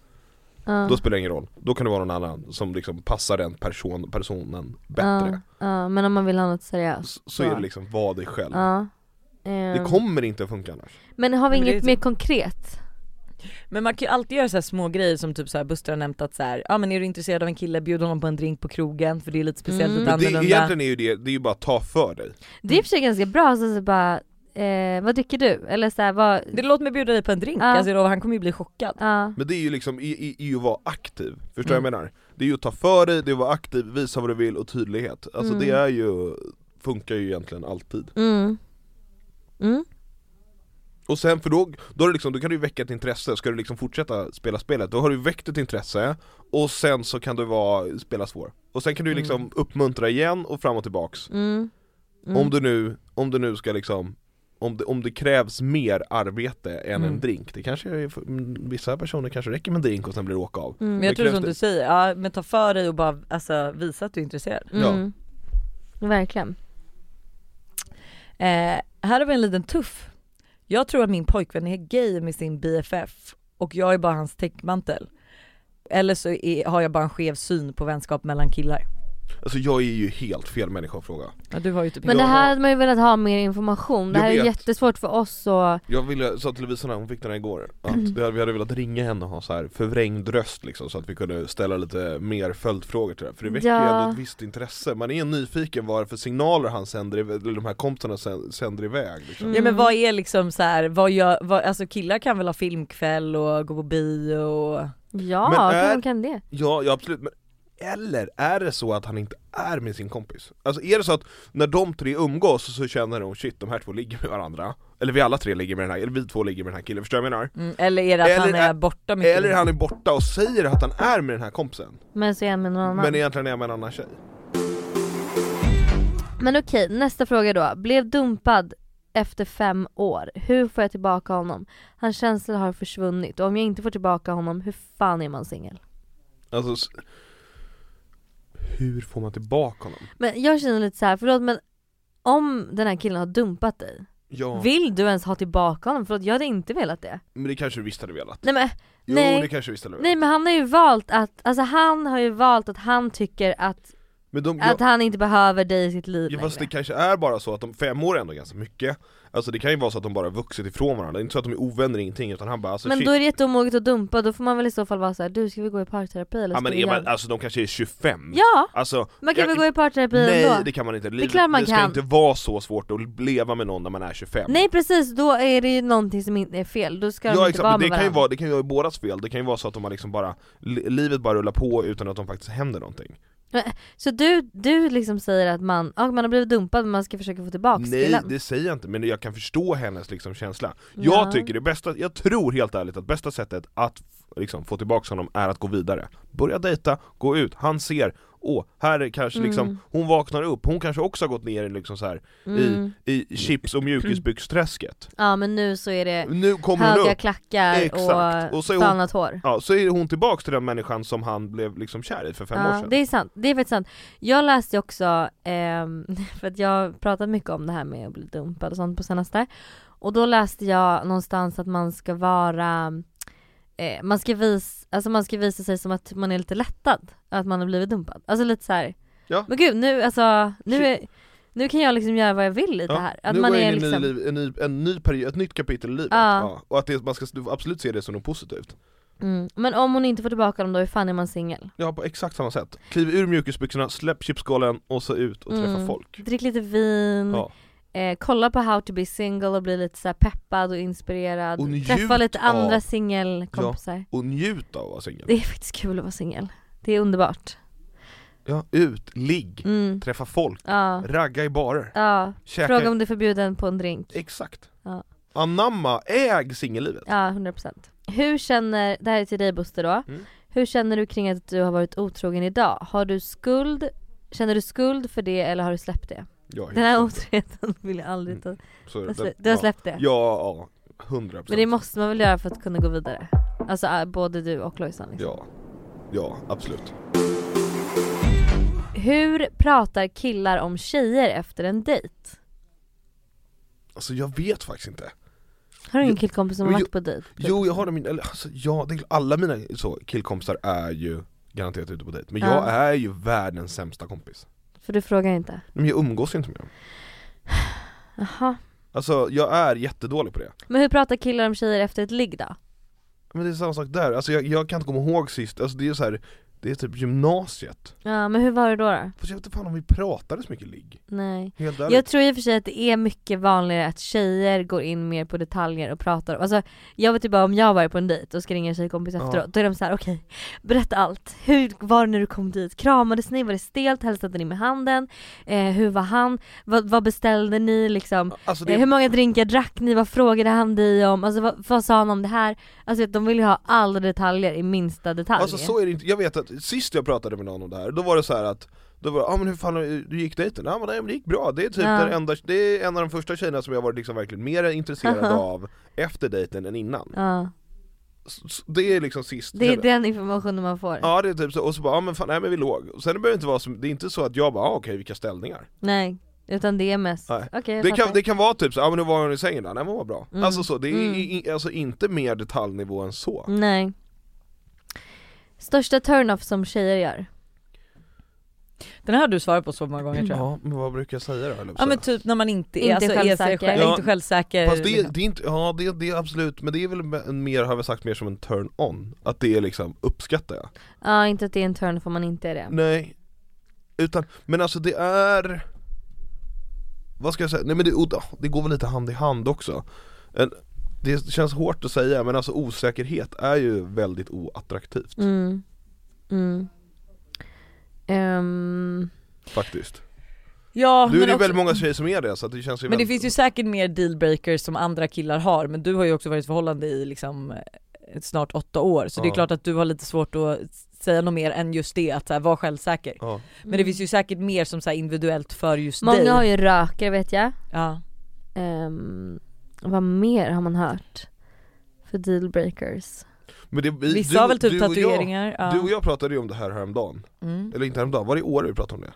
S2: ja.
S1: Då spelar det ingen roll, då kan det vara någon annan som liksom passar den person, personen bättre.
S2: Ja, ja, men om man vill ha något seriöst.
S1: Så, så är det liksom, var dig själv.
S2: Ja. Mm. Ehm,
S1: Det kommer inte att funka annars.
S2: Men har vi
S3: Men det är
S2: inget
S3: typ-
S2: mer konkret?
S3: men man kan ju alltid göra så här små grejer som typ så här Buster har nämnt att så här, ja men är du intresserad av en kille bjud honom på en drink på krogen för det är lite speciellt,
S2: Mm.
S3: lite
S1: Men det,
S3: annorlunda.
S1: egentligen är ju det, det är ju bara att ta för dig.
S3: Mm.
S2: Det är i och för sig ganska bra, så, så bara, eh, vad dricker du? Eller såhär, vad,
S3: Det, låt mig bjuda dig på en drink,
S2: Ja.
S3: alltså jag lovar, han kommer ju bli chockad.
S2: ja,
S1: Men det är ju liksom, i, i, i att vara aktiv, förstår
S3: Mm.
S1: jag menar? Det är ju att ta för dig, det är att vara aktiv, visa vad du vill och tydlighet. Alltså
S2: Mm.
S1: det är ju, funkar ju egentligen alltid.
S2: mm. Mm.
S1: Och sen för då, då, är det liksom, då kan du ju väcka ett intresse, ska du liksom fortsätta spela spelet, då har du väckt ett intresse och sen så kan du vara, spela svår. Och sen kan du ju liksom uppmuntra igen och fram och tillbaks.
S2: Mm. Mm.
S1: Om, du nu, om du nu ska liksom om det, om det krävs mer arbete än
S3: Mm.
S1: en drink, det kanske är, för- mm, vissa personer kanske räcker med en drink och sen blir det åka av.
S2: Mm.
S3: Men jag
S1: Det
S3: tror
S1: krävs
S3: som
S1: det.
S3: du säger, ja men ta för dig och bara alltså, visa att du är intresserad.
S1: Ja.
S2: Mm. Verkligen.
S3: Eh, här har vi en liten tuff. Jag tror att min pojkvän är gay med sin BFF och jag är bara hans täckmantel. Eller så är, har jag bara en skev syn på vänskap mellan killar.
S1: Alltså jag är ju helt fel människa att fråga.
S3: Ja, du har ju typ
S2: Men det
S1: Jag
S2: här
S1: har-
S2: hade man ju velat ha mer information, det
S1: Jag
S2: här är
S1: vet.
S2: jättesvårt för oss och
S1: Jag ville, sa till Lovisa när hon fick den här igår,
S2: Mm.
S1: att det hade- vi hade velat ringa henne och ha så här förvrängd röst liksom så att vi kunde ställa lite mer följdfrågor till det här. För det väcker ju
S2: Ja.
S1: ändå ett visst intresse, man är nyfiken vad det är för signaler han sänder, iv- eller de här kompisarna sä- sänder iväg liksom.
S2: Mm.
S3: Ja men vad är liksom så här, vad gör, vad, alltså killar kan väl ha filmkväll och gå på bio och...
S2: ja,
S1: Men
S2: klart
S1: är-
S2: man kan det.
S1: Ja, ja absolut, men eller är det så att han inte är med sin kompis? Alltså är det så att när de tre umgås så känner hon shit, de här två ligger med varandra Eller vi alla tre ligger med den här, eller vi två ligger med den här killen, förstår du vad jag menar?
S3: Mm, eller är det att
S1: Eller
S3: han är
S1: är-
S3: borta mycket?
S1: Eller han är borta och säger att han är med den här kompisen,
S2: Men så är jag med någon annan.
S1: men egentligen är han med en annan tjej
S2: Men okej, nästa fråga då. Blev dumpad efter fem år. Hur får jag tillbaka honom? Hans känslor har försvunnit och om jag inte får tillbaka honom, hur fan är man singel?
S1: Alltså, s- hur får man tillbaka honom?
S2: Men jag känner lite så här, förlåt men om den här killen har dumpat dig,
S1: Ja,
S2: vill du ens ha tillbaka honom? Förlåt, jag hade inte velat det.
S1: men det kanske du visst hade velat?
S2: Nej men,
S1: Jo,
S2: Nej.
S1: det kanske du visst hade velat
S2: nej, men han har ju valt att, alltså han har ju valt att han tycker att,
S1: Men de,
S2: att han inte behöver dig i sitt liv
S1: ja, fast det
S2: längre.
S1: kanske är bara så att de, fem år är ändå ganska mycket Alltså det kan ju vara så att de bara har vuxit ifrån varandra, det är inte så att de är ovänner ingenting utan han bara alltså,
S2: Men
S1: shit,
S2: då är det jätteomoget att dumpa, då får man väl i så fall vara så här, du ska vi gå i parterapi eller
S1: Ja
S2: ska
S1: men
S2: vi
S1: är man,
S2: göra-"
S1: alltså de kanske är 25?
S2: Ja!
S1: Alltså,
S2: Man kan
S1: jag-
S2: väl gå i parterapi
S1: Nej
S2: ändå?
S1: det kan man inte, Livet-
S2: klart man
S1: det ska
S2: kan.
S1: inte vara så svårt att leva med någon när man är 25
S2: Nej precis, då är det ju någonting som inte är fel, då ska de
S1: Ja
S2: inte
S1: exakt,
S2: vara
S1: men
S2: med
S1: det kan, ju
S2: varandra.
S1: vara, det kan ju vara bådas fel, det kan ju vara så att de har liksom bara, li- livet bara rullar på utan att de faktiskt händer någonting
S2: Så du, du liksom säger att man, ja, man har blivit dumpad men man ska försöka få tillbaka
S1: Nej
S2: killen?
S1: det säger jag inte, men jag kan förstå hennes liksom känsla
S2: Ja.
S1: Jag tycker det bästa, jag tror helt ärligt att bästa sättet att f- liksom, få tillbaka honom är att gå vidare Börja dejta, gå ut, han ser, åh, här är kanske
S2: Mm.
S1: liksom, hon vaknar upp, hon kanske också har gått ner i liksom så här
S2: Mm.
S1: i chips och mjukisbyxträsket.
S2: Ja men nu så är det
S1: Nu kommer hon
S2: Mm. höga
S1: upp,
S2: klackar
S1: Exakt.
S2: och,
S1: Och så är hon-
S2: stannat hår.
S1: ja, så är hon tillbaks till den människan som han blev liksom kär i för fem år
S2: Ja,
S1: sedan.
S2: det är sant, det är faktiskt sant. Jag läste ju också, ehm, för att jag har pratat mycket om det här med att bli dumpad och sånt på senaste. Och då läste jag någonstans att man ska vara, eh, man, ska visa, alltså man ska visa sig som att man är lite lättad, att man har blivit dumpad. Alltså lite så här.
S1: Ja.
S2: men gud nu alltså, nu, är, nu kan jag liksom göra vad jag vill i det
S1: Ja,
S2: här. Att
S1: nu
S2: man
S1: går jag
S2: är
S1: in i en
S2: liksom,
S1: ny liv, en ny, en ny period, ett nytt kapitel i livet.
S2: Ja.
S1: Ja. Och att det, man ska absolut se det som något positivt.
S2: mm. men om hon inte får tillbaka dem då, hur fan är man singel?
S1: Ja, på exakt samma sätt. Kliv ur mjukisbyxorna, släpp chipsskalen och så ut och träffa
S2: Mm.
S1: folk.
S2: Drick lite vin,
S1: Ja.
S2: eh, kolla på How to be single och bli lite så här peppad och inspirerad.
S1: Och njut
S2: Träffa lite andra
S1: av-
S2: singelkompisar.
S1: Och njut av att vara singel.
S2: Det är faktiskt kul att vara singel. Det är underbart.
S1: Ja, ut, ligg,
S2: Mm.
S1: träffa folk,
S2: Ja.
S1: ragga i barer,
S2: Ja.
S1: käka
S2: Fråga om du är förbjuden på en drink.
S1: Exakt.
S2: Ja.
S1: Anamma, äg singellivet.
S2: Ja, 100%. Hur känner, det här är till dig Buster då.
S1: Mm.
S2: Hur känner du kring att du har varit otrogen idag? Har du skuld? Känner du skuld för det eller har du släppt det?
S1: Ja, Mm.
S2: Den här otroheten vill jag aldrig ta. alltså,
S1: så är det.
S2: Du har släppt
S1: Ja,
S2: det?
S1: ja, hundra
S2: Men det måste man väl göra för att kunna gå vidare? Alltså äh, både du och Lojsan liksom.
S1: Ja, ja absolut.
S2: Hur pratar killar om tjejer efter en dejt?
S1: Alltså jag vet faktiskt inte.
S2: Har du ingen
S1: Jo,
S2: killkompis som har
S1: men
S2: varit på dejt?
S1: Jo jag har det min, eller alltså ja, det är, klart, alla mina så, killkompisar är ju garanterat ute på dejt, men
S2: Ja.
S1: jag är ju världens sämsta kompis.
S2: För du frågar inte?
S1: Men jag umgås ju inte med dem.
S2: Jaha.
S1: Alltså jag är jättedålig på det.
S2: Men hur pratar killar om tjejer efter ett ligg då?
S1: Men det är samma sak där, alltså jag, jag kan inte komma ihåg sist, alltså det är så här, det är typ gymnasiet.
S2: Ja men hur var det då då?
S1: Fast jag vet inte fan om vi pratade så mycket ligg.
S2: Nej.
S1: Helt ärligt.
S2: Jag tror i och för sig att det är mycket vanligare att tjejer går in mer på detaljer och pratar alltså jag vet ju bara om jag var på en dejt och ska ringa en tjejkompis
S1: Ja.
S2: efteråt, då är de så här: okej, berätta allt. Hur var det när du kom dit? Kramades ni? Var det stelt? Hälsade ni med handen? Eh, hur var han? Vad, vad beställde ni liksom?
S1: Alltså
S2: Eh, hur
S1: det,
S2: många drinkar drack ni? Vad frågade han dig om? Alltså vad, vad sa han om det här? Alltså vet, de vill ju ha alla detaljer i minsta detalj.
S1: alltså så är det inte, jag vet att sist jag pratade med någon om det här, då var det så här att då var det, ah, men hur fan hur gick dejten? Ja men nej, men det gick bra, det är typ
S2: Ja.
S1: den enda, det är en av de första tjejerna som jag varit liksom verkligen mer intresserad
S2: Aha.
S1: av efter dejten än innan.
S2: ja.
S1: Så, så det är liksom sist
S2: Det är den informationen man får.
S1: Ja det är typ så, och så bara, ah, men fan, nej men vi låg. Och Sen det behöver inte vara som, det är inte så att jag bara, ah, okej vilka ställningar.
S2: Nej, utan det är mest,
S1: Nej.
S2: okej jag
S1: Det
S2: fattar.
S1: kan, det kan vara typ så, ja ah, men hur var hon i sängen då? Nej men vad bra.
S2: Mm.
S1: Alltså så, det är
S2: Mm.
S1: i, alltså inte mer detaljnivå än så.
S2: Nej. Största turn-off som tjejer gör?
S3: Den här har du svarat på så många
S2: Mm.
S3: gånger tror jag.
S1: Ja men vad brukar jag säga då? höll jag på
S3: Ja
S1: att
S3: men
S1: säga?
S3: typ när man inte är,
S2: Inte
S3: alltså, är sig
S2: självsäker.
S3: själv,
S1: Ja.
S3: inte självsäker.
S1: Fast det, är-
S3: liksom.
S1: det är inte, ja det, det är absolut, men det är väl me- en mer, har vi sagt, mer som en turn-on, att det är liksom, uppskattar jag.
S2: Ja, inte att det är en turn-off om man inte är det.
S1: Nej, utan, men alltså det är, vad ska jag säga, nej men det, oh, det går väl lite hand i hand också. En, det känns hårt att säga, men alltså osäkerhet är ju väldigt oattraktivt
S2: Mm. Mm. Ehm,
S1: faktiskt.
S3: Ja,
S1: Nu är det
S3: men,
S1: ju
S3: också,
S1: väldigt många tjejer som är det, så att det känns ju
S3: men det
S1: väldigt,
S3: finns ju säkert mer dealbreakers som andra killar har, men du har ju också varit i förhållande i liksom eh, snart åtta år, så det är
S1: Ja.
S3: klart att du har lite svårt att säga något mer än just det, att så här, vara självsäker.
S1: ja.
S3: Men det finns ju säkert mer som så här, individuellt för just dig.
S2: Mm. Många har ju röker vet jag.
S3: ja.
S2: Ehm, vad mer har man hört? För dealbreakers?
S1: men det, vi-
S3: Vissa
S1: du-
S3: har väl typ
S1: du och jag-
S3: tatueringar. ja.
S1: Du och jag pratade ju om det här häromdagen,
S3: Mm.
S1: eller inte häromdagen, var det i år vi pratade om det?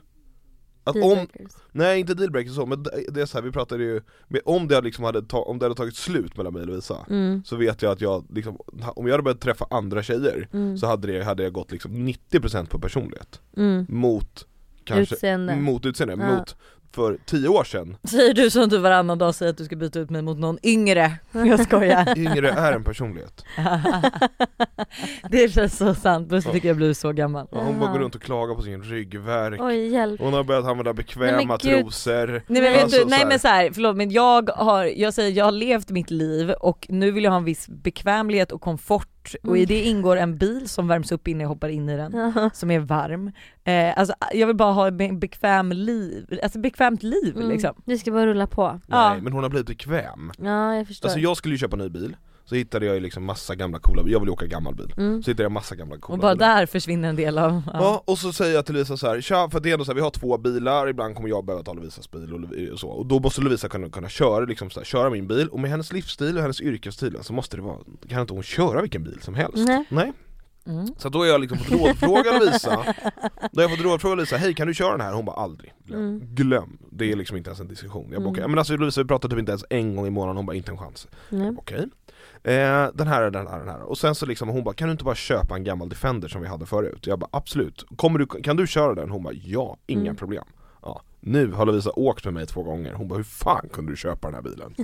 S1: Att om,
S2: Dealbreakers.
S1: Nej inte dealbreaker så, men det det är så här, vi pratade ju med, om, det hade liksom hade ta, om det hade tagit slut mellan mig och Lovisa
S2: Mm.
S1: Så vet jag att jag liksom, om jag hade börjat träffa andra tjejer
S2: Mm.
S1: Så hade, det, hade jag gått liksom 90% på personlighet
S2: Mm.
S1: Mot kanske,
S2: Utseende.
S1: mot utseende,
S2: Ja.
S1: mot för 10 år sedan
S3: Säger du som du varannan dag säger att du ska byta ut mig mot någon yngre? Jag skojar.
S1: Yngre är en personlighet
S3: det känns så sant, Buster tycker jag blir så gammal.
S1: ja, Hon bara
S2: Jaha.
S1: går runt och klagar på sin ryggvärk
S2: Oj hjälp.
S1: Hon har börjat använda
S2: Nej,
S1: bekväma
S2: men gud.
S1: trosor
S3: Nej men
S1: Alltså,
S3: vet du,
S1: så
S3: nej
S1: här-
S3: men så här, förlåt men jag har, jag säger jag har levt mitt liv och nu vill jag ha en viss bekvämlighet och komfort och i
S2: Mm.
S3: det ingår en bil som värms upp innan jag hoppar in i den, som är varm. Eh, alltså jag vill bara ha en bekväm liv, alltså bekvämt liv
S2: Mm.
S3: liksom.
S2: Vi ska bara rulla på.
S1: Nej
S3: Ja.
S1: men hon har blivit bekväm
S2: Ja jag förstår.
S1: Alltså jag skulle ju köpa en ny bil, så hittade jag ju liksom massa gamla coola, jag vill ju åka gammal bil
S2: mm.
S1: Så hittade jag massa gamla coola
S3: Och bara
S1: bilar.
S3: där försvinner en del av,
S1: Ja. och så säger jag till Lovisa så här, tja för det är ändå så här, vi har två bilar, ibland kommer jag behöva ta Lovisas bil och, Lovi- och så Och då måste Lovisa kunna, kunna köra, liksom så här, köra min bil, och med hennes livsstil och hennes yrkesstil så måste det vara, kan inte hon köra vilken bil som helst?
S2: Nej.
S3: Mm.
S1: Så då har jag liksom fått rådfråga Lovisa, då har jag fått rådfråga Lovisa, hej kan du köra den här? Hon bara aldrig, glöm,
S2: Mm.
S1: glöm. det är liksom inte ens en diskussion Jag bara,
S2: Mm.
S1: okej. men alltså Lovisa vi pratar typ inte ens en gång i månaden, hon bara inte en chans
S2: Nej.
S1: Okej. Eh, den här, den här, den här. Och sen så liksom hon bara, kan du inte bara köpa en gammal Defender som vi hade förut? Jag bara absolut. Kommer du, kan du köra den? Hon bara ja, inga
S2: Mm.
S1: problem. Ja. Nu har Lovisa åkt med mig två gånger, hon bara hur fan kunde du köpa den här bilen?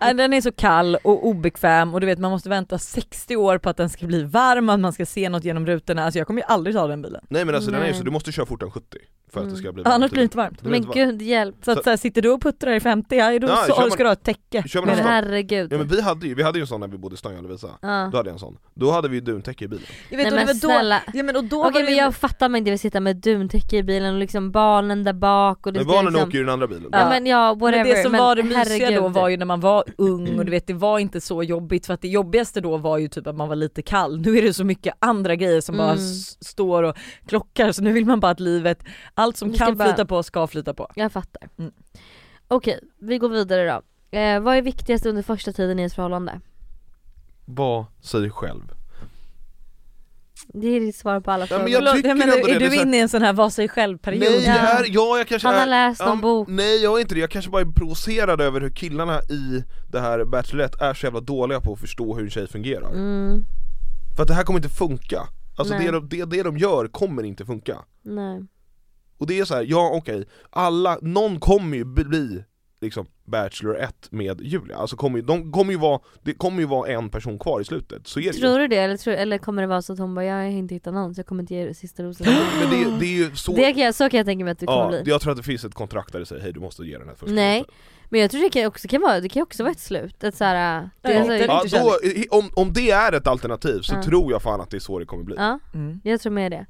S3: Nej, Den är så kall och obekväm och du vet man måste vänta 60 år på att den ska bli varm, att man ska se något genom rutorna. Alltså jag kommer ju aldrig ta den bilen.
S1: Nej men alltså den är ju
S2: Nej.
S1: så, du måste köra fortare än 70 för att
S2: Mm.
S1: det ska bli
S3: Annars
S1: varmt.
S3: blir det inte varmt.
S1: Det blir
S2: Men
S1: inte
S2: gud hjälp.
S3: Så att
S1: Så-
S3: så här, sitter du och puttrar i 50, ja, då
S1: Ja,
S3: så,
S1: kör man-
S3: ska du ha ett täcke.
S1: Kör man
S2: Men
S1: en sån?
S2: herregud.
S1: Ja, men vi hade ju, vi hade ju en sån när vi bodde i Stånga Lovisa,
S2: Ja.
S1: då hade jag en sån. Då hade vi ju duntäcke i bilen.
S3: Jag
S2: Nej
S3: och det
S2: men
S3: var då,
S2: snälla.
S3: ja, men och då
S2: Okej
S3: var det
S2: men
S3: ju-
S2: jag fattar mig inte vill sitta med duntäcke i bilen och liksom barnen där bak och det
S1: Men
S2: ska
S1: barnen
S2: liksom...
S1: åker ju i den andra bilen.
S2: Ja men ja whatever.
S3: Men det som var det mysiga
S2: herregud.
S3: då var ju när man var ung och du vet det var inte så jobbigt för att det jobbigaste då var ju typ att man var lite kall. Nu är det så mycket andra grejer som bara
S2: Mm.
S3: s- står och klockar så nu vill man bara att livet, allt som
S2: Det ska
S3: kan
S2: bara-
S3: flyta på ska flyta på.
S2: Jag fattar.
S3: Mm.
S2: Okej, vi går vidare då. Eh, vad är viktigast under första tiden i ett förhållande?
S1: Var sig själv.
S2: Det är ditt svar på alla
S1: Ja,
S2: frågor.
S1: men jag
S3: Förlåt,
S1: tycker
S3: menar,
S1: ändå det,
S3: är
S1: det är
S3: du
S1: så här-
S3: inne i en sån här var sig själv period?
S1: Nej,
S2: Ja.
S1: jag är, ja, jag kanske
S2: Han har
S1: är,
S2: läst någon
S1: ja,
S2: bok.
S1: Nej jag är inte det, jag kanske bara är provocerad över hur killarna i det här Bachelorette är så jävla dåliga på att förstå hur en tjej fungerar.
S2: Mm,
S1: För att det här kommer inte funka. Alltså
S2: Nej.
S1: det de, det, det de gör kommer inte funka.
S2: nej.
S1: Och det är så här, ja okej, alla, någon kommer ju bli liksom Bachelor 1 med Julia, alltså kommer ju, de kommer ju vara, det kommer ju vara en person kvar i slutet, så är det ju.
S2: Tror du det eller, tror, eller kommer det vara så att hon bara jag har inte hittat någon så jag kommer inte ge er sista rosen.
S1: Men det, det är ju så,
S2: det kan jag, så kan jag tänka mig att det kommer
S1: ja,
S2: bli.
S1: jag tror att det finns ett kontrakt där det säger hej du måste ge den här första
S2: Nej.
S1: rosen."
S2: Men jag tror det kan också, kan vara, det kan också vara ett slut, ett såhär... äh, Det
S3: Ja,
S2: är så,
S3: det-
S2: ja.
S1: Ja,
S3: inte
S1: då, i- om, om det är ett alternativ så
S2: Ja.
S1: tror jag fan att det är så det kommer bli.
S3: Mm.
S2: jag tror med det.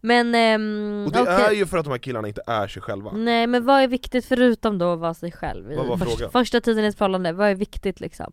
S2: Men ehm,
S1: Och det
S2: okej.
S1: är ju för att de här killarna inte är sig själva.
S3: Mm.
S2: Nej men vad är viktigt förutom då att vara sig själv i
S1: Vad var
S2: första,
S1: frågan?
S2: första tiden i ett förhållande, vad är viktigt liksom?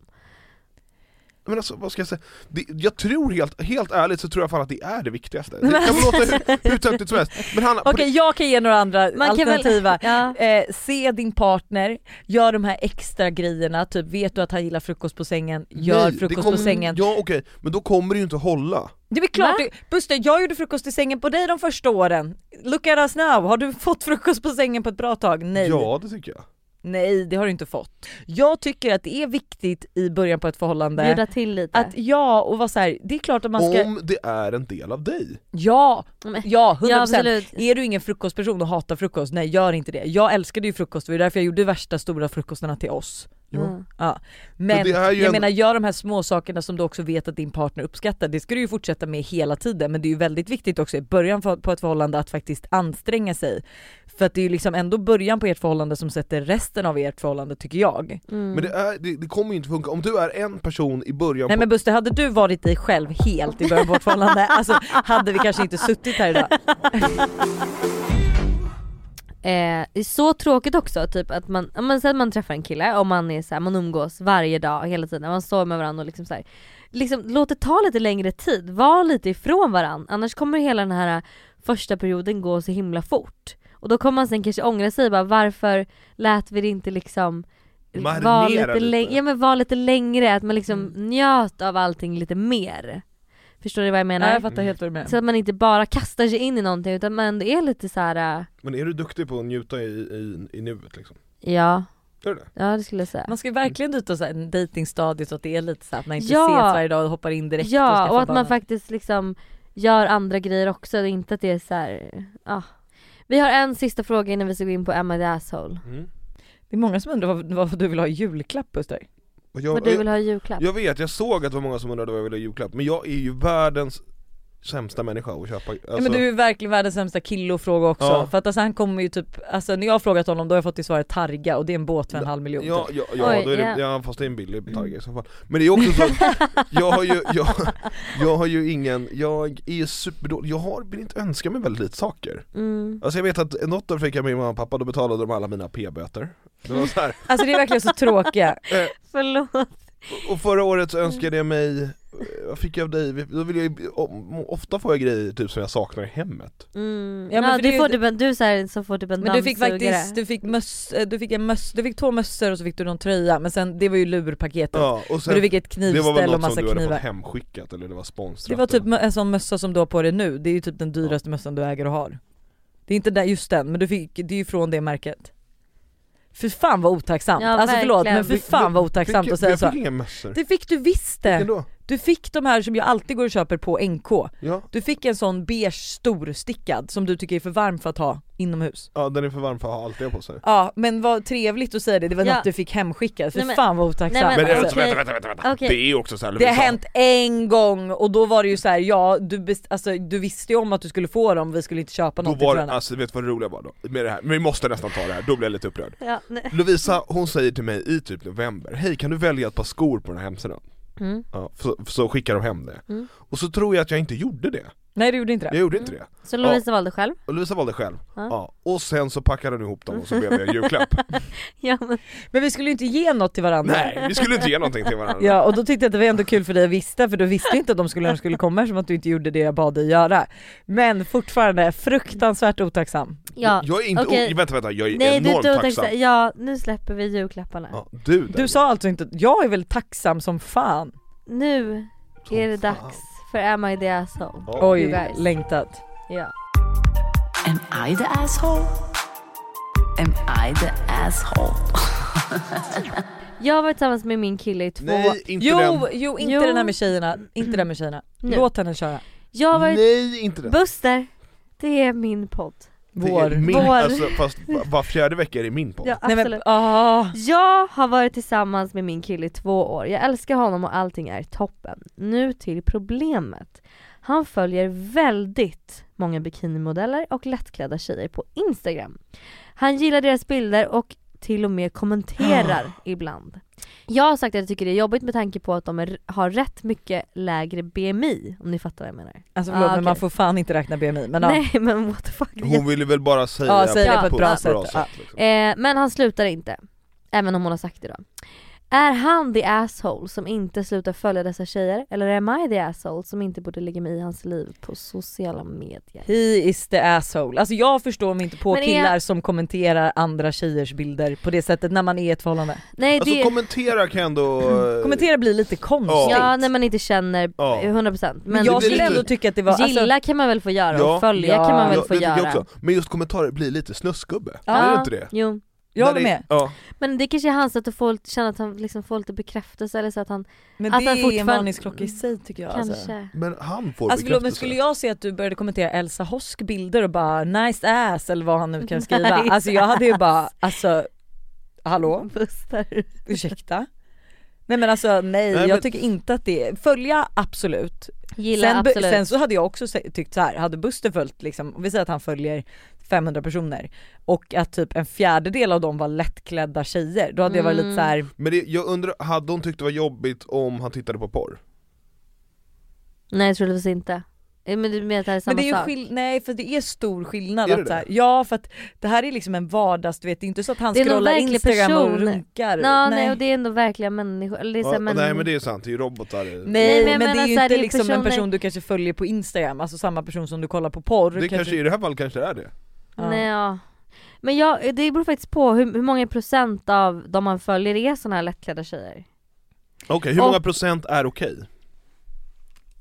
S1: Men alltså vad ska jag säga, det, jag tror helt, helt ärligt så tror jag fan att det är det viktigaste. Det kan låta hur, hur töntigt som helst, men han,
S3: Okej jag kan ge några andra
S2: Man kan väl-
S3: alternativa.
S2: Ja.
S3: Eh, se din partner, gör de här extra grejerna, typ vet du att han gillar frukost på sängen, gör
S1: Nej, det
S3: frukost
S1: kommer-
S3: på sängen.
S1: Ja okej, men då kommer det ju inte hålla.
S3: Det är klart,
S2: Va?
S3: du, Buster jag gjorde frukost i sängen på dig de första åren. Look at us now, har du fått frukost på sängen på ett bra tag? Nej.
S1: Ja det tycker jag.
S3: Nej det har du inte fått. Jag tycker att det är viktigt i början på ett förhållande
S2: Bjuda till lite.
S3: att ja, och vara såhär, det är klart att man ska,
S1: Om det är en del av dig.
S3: ja,
S2: Men-
S3: ja 100%.
S2: ja absolut.
S3: Är du ingen frukostperson och hatar frukost, nej gör inte det. Jag älskade ju frukost, det var ju därför jag gjorde värsta stora frukostarna till oss.
S1: Ja.
S2: Mm.
S3: Men,
S1: Men det är ju
S3: jag
S1: en-
S3: menar gör de här små sakerna som du också vet att din partner uppskattar, det ska du ju fortsätta med hela tiden men det är ju väldigt viktigt också i början för- på ett förhållande att faktiskt anstränga sig. För att det är ju liksom ändå början på ert förhållande som sätter resten av ert förhållande tycker jag.
S2: Mm.
S1: Men det, är, det, det kommer ju inte funka, om du är en person i början
S3: Nej
S1: på
S3: men Buster, hade du varit dig själv helt i början på vårt förhållande, alltså hade vi kanske inte suttit här idag.
S2: Eh, det är så tråkigt också, typ att man, om man, säger att man träffar en kille och man är så här, man umgås varje dag hela tiden, man står med varandra och liksom så här, liksom låt det ta lite längre tid, var lite ifrån varandra, annars kommer hela den här eh, första perioden gå så himla fort. Och då kommer man sen kanske ångra sig bara varför lät vi det inte liksom
S1: Marinera
S2: vara lite,
S1: lite.
S2: läng- ja, men var lite längre, att man liksom
S3: Mm.
S2: njöt av allting lite mer. Förstår du vad jag menar?
S3: Nej jag fattar helt vad du menar.
S2: Så att man inte bara kastar sig in i någonting utan man ändå är lite så här. äh,
S1: Men är du duktig på att njuta i, i, i nuet liksom?
S2: ja,
S1: Är du det?
S2: ja det skulle jag säga.
S3: Man ska ju verkligen ut och så här, dejtingstadiet så att det är lite så här, att man inte
S2: Ja.
S3: ses varje dag och hoppar in direkt
S2: Ja,
S3: skaffar
S2: och att
S3: barn.
S2: man faktiskt liksom gör andra grejer också, och inte att det är så här, ja. Vi har en sista fråga innan vi ska gå in på Emma the asshole.
S1: Mm.
S3: Det är många som undrar vad, vad du vill ha i julklapp Buster.
S1: Och jag,
S2: Vad du
S1: jag-
S2: vill ha i julklapp.
S1: jag vet, jag såg att det var många som undrade vad jag ville ha i julklapp, men jag är ju världens sämsta människa att köpa alltså,
S3: Ja, men du är verkligen världens sämsta kille att fråga också.
S1: Ja.
S3: För att alltså, han kommer ju typ, alltså när jag har frågat honom då har jag fått till svar targa och det är en båt för en halv miljon.
S1: Ja,
S3: typ.
S1: ja, ja,
S2: Oj,
S1: då är det, ja fast det är en billig targa i så fall. Men det är också så, att jag har ju, jag, jag har ju ingen, jag är ju superdålig, jag har, vill inte önska mig väldigt lite saker.
S2: Mm.
S1: Alltså jag vet att en dotter fick jag med min mamma och pappa, då betalade de alla mina p-böter. Det var så här.
S3: Alltså det är verkligen så tråkiga.
S2: Förlåt.
S1: Och förra året så önskade jag mig, eh, vad fick jag av dig? Då vill jag, ju- om- ofta får jag grejer typ som jag saknar i hemmet.
S2: Mm.
S3: Ja,
S2: Ja,
S3: men för det är
S2: du
S3: ju
S2: får
S3: inte-
S2: typ en, du är så här, som får typ en
S3: Men du fick
S2: dammsugare.
S3: faktiskt, du fick, möss, eh, du, fick en möss, du fick två mössor och så fick du någon tröja men sen det var ju lurpaketet.
S1: Ja, och
S3: Men du
S1: sen,
S3: fick ett
S1: det var väl
S3: knivställ
S1: något
S3: och
S1: som
S3: massa
S1: du hade
S3: knivar.
S1: fått hemskickat eller det var sponsrat.
S3: Det var typ mö- en sån mössa som du har på dig nu, det är ju typ den dyraste mössan du äger och har. Det är inte där, just den, men du fick, det är ju från det märket. Fy fan vad otacksamt,
S2: Ja,
S3: alltså förlåt
S2: verkligen.
S3: men fy fan vad otacksamt
S1: Fick-
S3: att säga
S1: jag
S3: så.
S1: fick inga mössor.
S3: Det fick du visst det!
S1: Ändå.
S3: Du fick de här som jag alltid går och köper på NK.
S1: Ja,
S3: Du fick en sån beige storstickad som du tycker är för varm för att ha inomhus.
S1: ja den är för varm för att ha alltid på sig
S3: Ja men vad trevligt att säga det, det var
S2: Ja.
S3: något du fick hemskickat. Fy
S2: Nej, men-
S3: fan vad otacksamt.
S2: nej,
S1: Men
S2: men-
S3: Alltså,
S1: vänta,
S2: Okej.
S1: vänta, vänta, vänta, vänta.
S2: Okej.
S1: det är ju också såhär
S3: det har hänt en gång och då var det ju så här, ja du, best, alltså, du visste ju om att du skulle få dem, vi skulle inte köpa
S1: Då
S3: något
S1: var
S3: till
S1: det,
S3: varandra.
S1: alltså vet du vad det roliga var då? Med det här, men vi måste nästan ta det här, då blir jag lite upprörd
S2: Ja, nej.
S1: Lovisa, hon säger till mig i typ november, hej kan du välja ett par skor på den här hemsidan?
S2: Mm.
S1: Ja, så, så skickar de hem det.
S2: Mm.
S1: Och så tror jag att jag inte gjorde det,
S3: Nej du gjorde inte
S1: jag
S3: det.
S1: gjorde inte det.
S2: Så Lovisa valde själv?
S1: Och Lovisa valde själv,
S2: Ja.
S1: ja. och sen så packade hon ihop dem och så blev det en julklapp.
S2: Ja, men,
S3: Men vi skulle ju inte ge något till varandra.
S1: Nej, vi skulle inte ge någonting till varandra.
S3: Ja och då tyckte jag att det var ändå kul för dig att vissa för du visste ju inte att de skulle, de skulle komma eftersom att du inte gjorde det jag bad dig göra. Men fortfarande fruktansvärt otacksam.
S2: ja.
S1: Jag är inte,
S2: okej.
S1: oh, vänta vänta, jag är
S2: Nej du
S1: enormt
S2: du har
S1: tacksam.
S2: tänkt så- ja nu släpper vi julklapparna.
S1: Ja, du,
S3: Du sa alltså inte, jag är väl tacksam som fan.
S2: Nu är det dags för Am I the asshole? You
S3: Oj,
S2: guys.
S3: längtat.
S2: Ja.
S4: Am I the asshole? Am I the asshole?
S2: Jag har varit tillsammans med min kille i två
S1: Nej, inte den.
S3: Jo, jo inte
S2: Jo.
S3: den här med tjejerna, inte den med tjejerna.
S2: Nu.
S3: Låt henne köra.
S2: Jag har varit...
S1: Nej, inte den.
S2: Buster! Det är min podd.
S1: Det är
S3: Vår.
S1: Min,
S2: Vår.
S1: Alltså, fast va- var fjärde vecka är det min podd.
S2: Ja,
S3: Nej
S2: absolut.
S3: men ah.
S2: Jag har varit tillsammans med min kille i två år. Jag älskar honom och allting är toppen. Nu till problemet. Han följer väldigt många bikinimodeller och lättklädda tjejer på Instagram. Han gillar deras bilder och till och med kommenterar ibland. Jag har sagt att jag tycker det är jobbigt med tanke på att de är, har rätt mycket lägre BMI, om ni fattar vad jag menar.
S3: Alltså förlåt
S2: Ah,
S3: men
S2: okej.
S3: man får fan inte räkna BMI men ja.
S2: Nej men what the fuck. det är
S1: Hon ville väl bara säga
S3: Ja, säg det på ett bra sätt. Ja.
S1: liksom.
S2: Eh, men han slutar inte. Även om hon har sagt det då. Är han the asshole som inte slutar följa dessa tjejer? Eller är I the asshole som inte borde lägga mig i hans liv på sociala medier?
S3: He is the asshole. Alltså jag förstår mig inte på
S2: Men är-
S3: killar som kommenterar andra tjejers bilder på det sättet när man är i ett förhållande.
S2: Nej
S1: Alltså
S2: det...
S1: kommentera kan jag ändå... eh,
S3: Kommentera blir lite konstigt.
S2: ja när man inte känner
S1: Ja.
S2: 100%
S3: Men
S2: men
S1: det
S3: jag
S1: blir
S3: skulle
S1: lite-
S3: ändå tycka att det var... alltså-
S2: gilla kan man väl få göra
S1: Ja.
S2: och följa
S3: Ja.
S2: kan man väl
S1: Ja,
S2: få
S1: det tycker
S2: göra.
S1: jag också. Men just kommentarer blir lite snuskgubbe,
S3: Ja.
S1: är det inte det?
S2: Jo.
S3: Jag
S1: När
S3: håller
S1: det-
S3: med.
S1: Ja.
S2: Men det kanske är hans sätt att få, känna att han liksom får lite bekräftelse eller så att han
S3: Men
S2: Att
S3: det
S2: han
S3: är en
S2: fortfarande-
S3: varningsklocka i sig tycker jag.
S2: kanske...
S3: Alltså.
S1: Men han får
S3: Alltså förlåt men
S1: bekräftelse.
S3: skulle jag se att du började kommentera Elsa Hosk bilder och bara nice ass eller vad han nu kan skriva.
S2: Nice
S3: Alltså jag hade ju bara alltså hallå
S2: Buster.
S3: ursäkta. Nej men alltså nej,
S1: Nej, men-
S3: jag tycker inte att det är, följa absolut.
S2: Gilla
S3: sen, be-
S2: absolut.
S3: sen så hade jag också se- tyckt så här. hade Buster följt liksom, om vi säger att han följer 500 personer och att typ en fjärdedel av dem var lättklädda tjejer, då hade jag varit lite så här.
S1: Men det, jag undrar, hade hon tyckt det var jobbigt om han tittade på porr?
S2: Nej troligtvis inte. Eh, Men du menar att det här är samma
S3: Men det är ju
S2: sak?
S3: skill- nej för det är stor skillnad.
S1: Är det
S3: att, så här,
S1: det?
S3: ja för att det här är liksom en vardags, du vet det är inte så att han
S2: Det är någon
S3: scrollar
S2: verklig
S3: instagram och
S2: person.
S3: runkar.
S2: Nå, nej. och det är ändå verkliga människor. Eller det är så här,
S1: Ja,
S2: men...
S1: Nej men det är sant, det är ju robotar
S3: Nej,
S2: Nej, men jag
S3: men, det är
S2: menar
S3: ju
S2: så här,
S3: inte
S2: det är
S3: liksom en
S2: personer-
S3: person du kanske följer på instagram, alltså samma person som du kollar på porr.
S1: Det kanske, i det här fallet kanske det är det
S3: ja.
S2: Nej, ja. Men jag, det beror faktiskt på hur, hur många procent av de man följer är såna här lättklädda tjejer.
S1: Okej, hur
S2: Och-
S1: många procent är okej?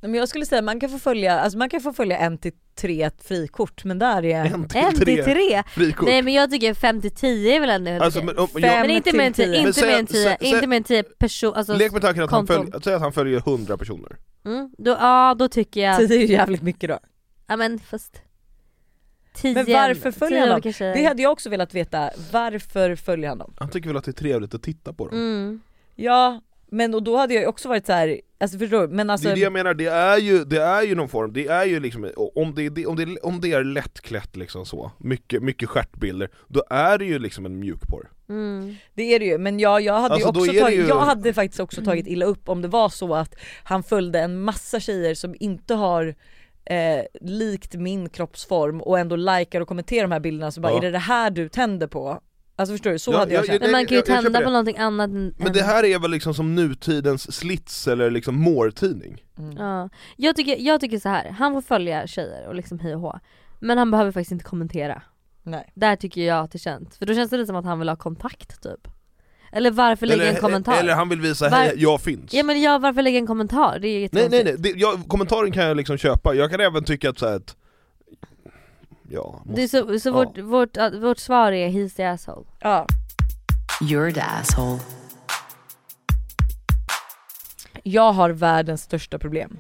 S3: Men jag skulle säga man kan få följa, alltså man kan få följa en till tre frikort men där är
S1: En
S2: En
S1: till
S2: till
S1: tre
S2: tre?
S1: frikort
S2: Nej men jag tycker 5 till 10 är väl ändå helt
S1: Alltså,
S2: okej.
S1: men, om,
S3: Fem-
S1: jag,
S2: Men inte
S3: till
S2: mer än 10,
S3: tio.
S1: Men
S2: inte
S1: säg-
S2: mer än
S1: säg-
S2: 10,
S1: säg-
S2: inte mer än 10 personer, alltså,
S1: lek med tanken att han,
S2: konton.
S1: följ, säg att han följer 100 personer
S2: mm, då, ja då tycker jag,
S3: tio är ju jävligt mycket då.
S2: ja men fast 10
S3: Men varför följer han dem?
S2: olika tjejer.
S3: Det hade jag också velat veta, varför följer han dem?
S1: Han tycker väl att det är trevligt att titta på dem?
S2: mm.
S3: Ja men och då hade jag ju också varit så här, alltså förstår du? Men alltså
S1: det är det jag menar, det är ju, det är ju någon form, det är ju liksom, om det, det, om det, om det är lättklätt liksom så, mycket, mycket stjärtbilder, då är det ju liksom en mjukporr.
S2: Mm.
S3: Det är det ju, men jag, jag, hade
S1: Alltså, då
S3: ju också
S1: är det
S3: tagit,
S1: ju-
S3: jag hade faktiskt också tagit illa upp om det var så att han följde en massa tjejer som inte har eh, likt min kroppsform och ändå likar och kommenterar de här bilderna så bara
S1: Ja.
S3: är det det här du tänder på? Alltså förstår du? Så
S1: Ja,
S3: hade jag
S1: ja,
S3: känt.
S1: Nej,
S2: Men man kan ju
S1: jag- jag
S2: tända
S1: köper
S2: på
S1: det.
S2: någonting annat än
S1: Men det här är väl liksom som nutidens slits eller liksom mårtidning?
S3: Mm.
S2: Ja. Jag, tycker, jag tycker så här. han får följa tjejer och liksom hej och hå. Men han behöver faktiskt inte kommentera.
S3: Nej.
S2: Där tycker jag att det känns, för då känns det lite som att han vill ha kontakt typ. Eller varför lägga en kommentar?
S1: eller han vill visa
S2: Var-
S1: hej, jag finns.
S2: Ja men ja, varför lägga en kommentar? Det är ju
S1: nej
S2: jättekonstigt.
S1: nej nej, det, jag, kommentaren kan jag liksom köpa, jag kan även tycka att såhär att, ja, måste,
S2: Det är så så vårt, vårt, äh, vårt svar är he's the asshole.
S3: Ja.
S4: You're the asshole.
S3: jag har världens största problem.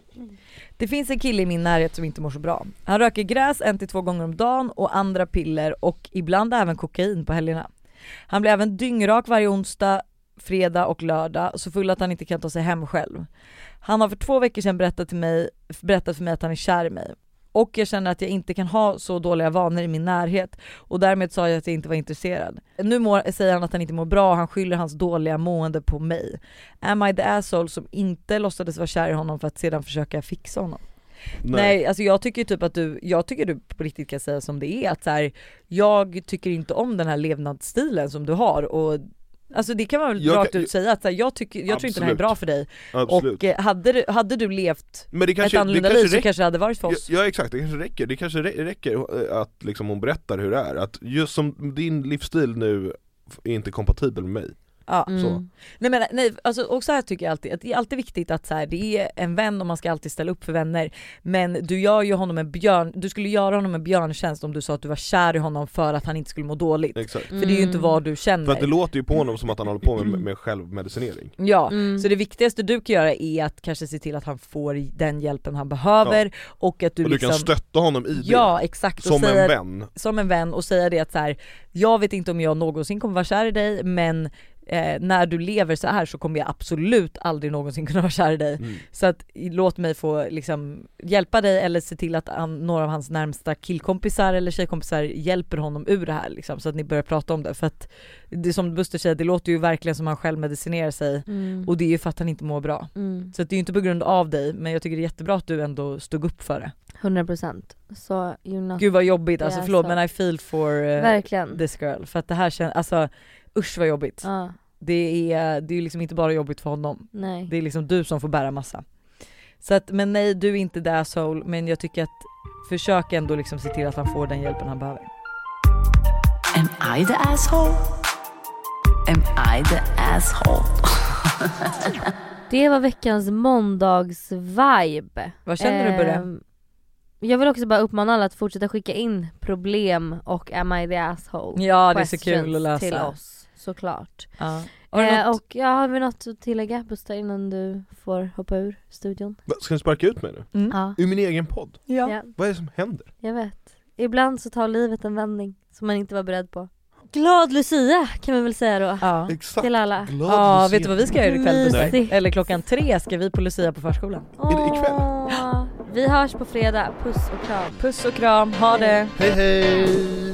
S3: Det finns en kille i min närhet som inte mår så bra. Han röker gräs en till två gånger om dagen och andra piller och ibland även kokain på helgerna. Han blir även dyngrak varje onsdag, fredag och lördag så full att han inte kan ta sig hem själv. Han har för två veckor sedan berättat, till mig, berättat för mig att han är kär i mig. Och jag känner att jag inte kan ha så dåliga vanor i min närhet och därmed sa jag att jag inte var intresserad. Nu mår, säger han att han inte mår bra och han skyller hans dåliga mående på mig. Am I the asshole som inte låtsades vara kär i honom för att sedan försöka fixa honom? Nej, alltså jag tycker ju typ att du, jag tycker du på riktigt kan säga som det är att så här, jag tycker inte om den här levnadsstilen som du har och Alltså det kan man väl
S1: Jag
S3: rakt
S1: kan-
S3: ut säga att så här, jag, tycker, jag tror inte det här är
S1: Absolut.
S3: bra för dig
S1: absolut.
S3: och eh, hade du, hade du levt
S1: Men det kanske,
S3: ett
S1: det
S3: annorlunda liv
S1: kanske
S3: så
S1: räcker
S3: kanske det hade varit för
S1: Ja,
S3: oss.
S1: ja exakt, det kanske räcker. Det kanske rä- räcker eh, att liksom hon berättar hur det är. Att just som din livsstil nu är inte kompatibel med mig.
S3: Ja.
S2: Mm.
S1: Så.
S3: Nej men nej, alltså, och så här tycker jag alltid, att det är alltid viktigt att så här, det är en vän och man ska alltid ställa upp för vänner. Men du gör ju honom en björn, du skulle göra honom en björntjänst om du sa att du var kär i honom för att han inte skulle må dåligt.
S1: Exakt.
S3: För det är ju inte
S2: Mm.
S3: vad du känner.
S1: För att det låter ju på honom som att han håller på med, med självmedicinering.
S3: Ja,
S2: Mm.
S3: så det viktigaste du kan göra är att kanske se till att han får den hjälpen han behöver och att du,
S1: och du
S3: liksom
S1: kan stötta honom i det.
S3: Ja exakt, och
S1: som
S3: säga,
S1: en vän.
S3: som en vän och säga det att så här, jag vet inte om jag någonsin kommer vara kär i dig men eh, när du lever så här så kommer jag absolut aldrig någonsin kunna vara kär i dig.
S1: Mm.
S3: Så att låt mig få liksom, hjälpa dig eller se till att han, några av hans närmsta killkompisar eller tjejkompisar hjälper honom ur det här liksom, så att ni börjar prata om det. För att det är som Buster säger, det låter ju verkligen som han själv medicinerar sig
S2: Mm.
S3: och det är ju för att han inte mår bra.
S2: Mm.
S3: Så att det är ju inte på grund av dig men jag tycker det är jättebra att du ändå stod upp för det.
S2: 100% Så Jonas,
S3: Gud vad jobbigt
S2: Det
S3: alltså,
S2: är
S3: förlåt
S2: sant.
S3: men I feel for eh,
S2: verkligen.
S3: this girl. För att det här känns, alltså usch vad jobbigt.
S2: Ja,
S3: Det är ju det är ju liksom inte bara jobbigt för honom
S2: nej.
S3: Det är liksom du som får bära massa. Så att, men nej du är inte the asshole men jag tycker att försök ändå liksom se till att han får den hjälpen han behöver.
S4: Am I the asshole? Am I the asshole?
S2: Det var veckans måndags-vibe.
S3: Vad känner du Burre?
S2: Ehm, Jag vill också bara uppmana alla att fortsätta skicka in problem och am I the asshole?
S3: Ja det är så
S2: questions
S3: kul att lösa.
S2: till oss såklart.
S3: Ja. Har du
S2: Eh,
S3: något?
S2: och ja, har vi något att tillägga Buster innan du får hoppa ur studion?
S1: Va, Ska du sparka ut mig nu?
S3: Mm.
S2: Ja.
S1: Ur min egen podd?
S3: Ja.
S2: ja,
S1: Vad är det som händer?
S2: jag vet. Ibland så tar livet en vändning som man inte var beredd på. Glad Lucia kan vi väl säga då
S3: Ja.
S1: Exakt.
S2: till alla.
S1: Glad
S3: Ja,
S1: att se
S3: vet du vad vi ska göra ikväll Buster?
S2: Mysigt.
S3: Eller klockan tre ska vi på Lucia på förskolan.
S1: Är det ikväll?
S2: Åh, vi hörs på fredag, puss och kram.
S3: Puss och kram, ha det!
S1: Hej hej!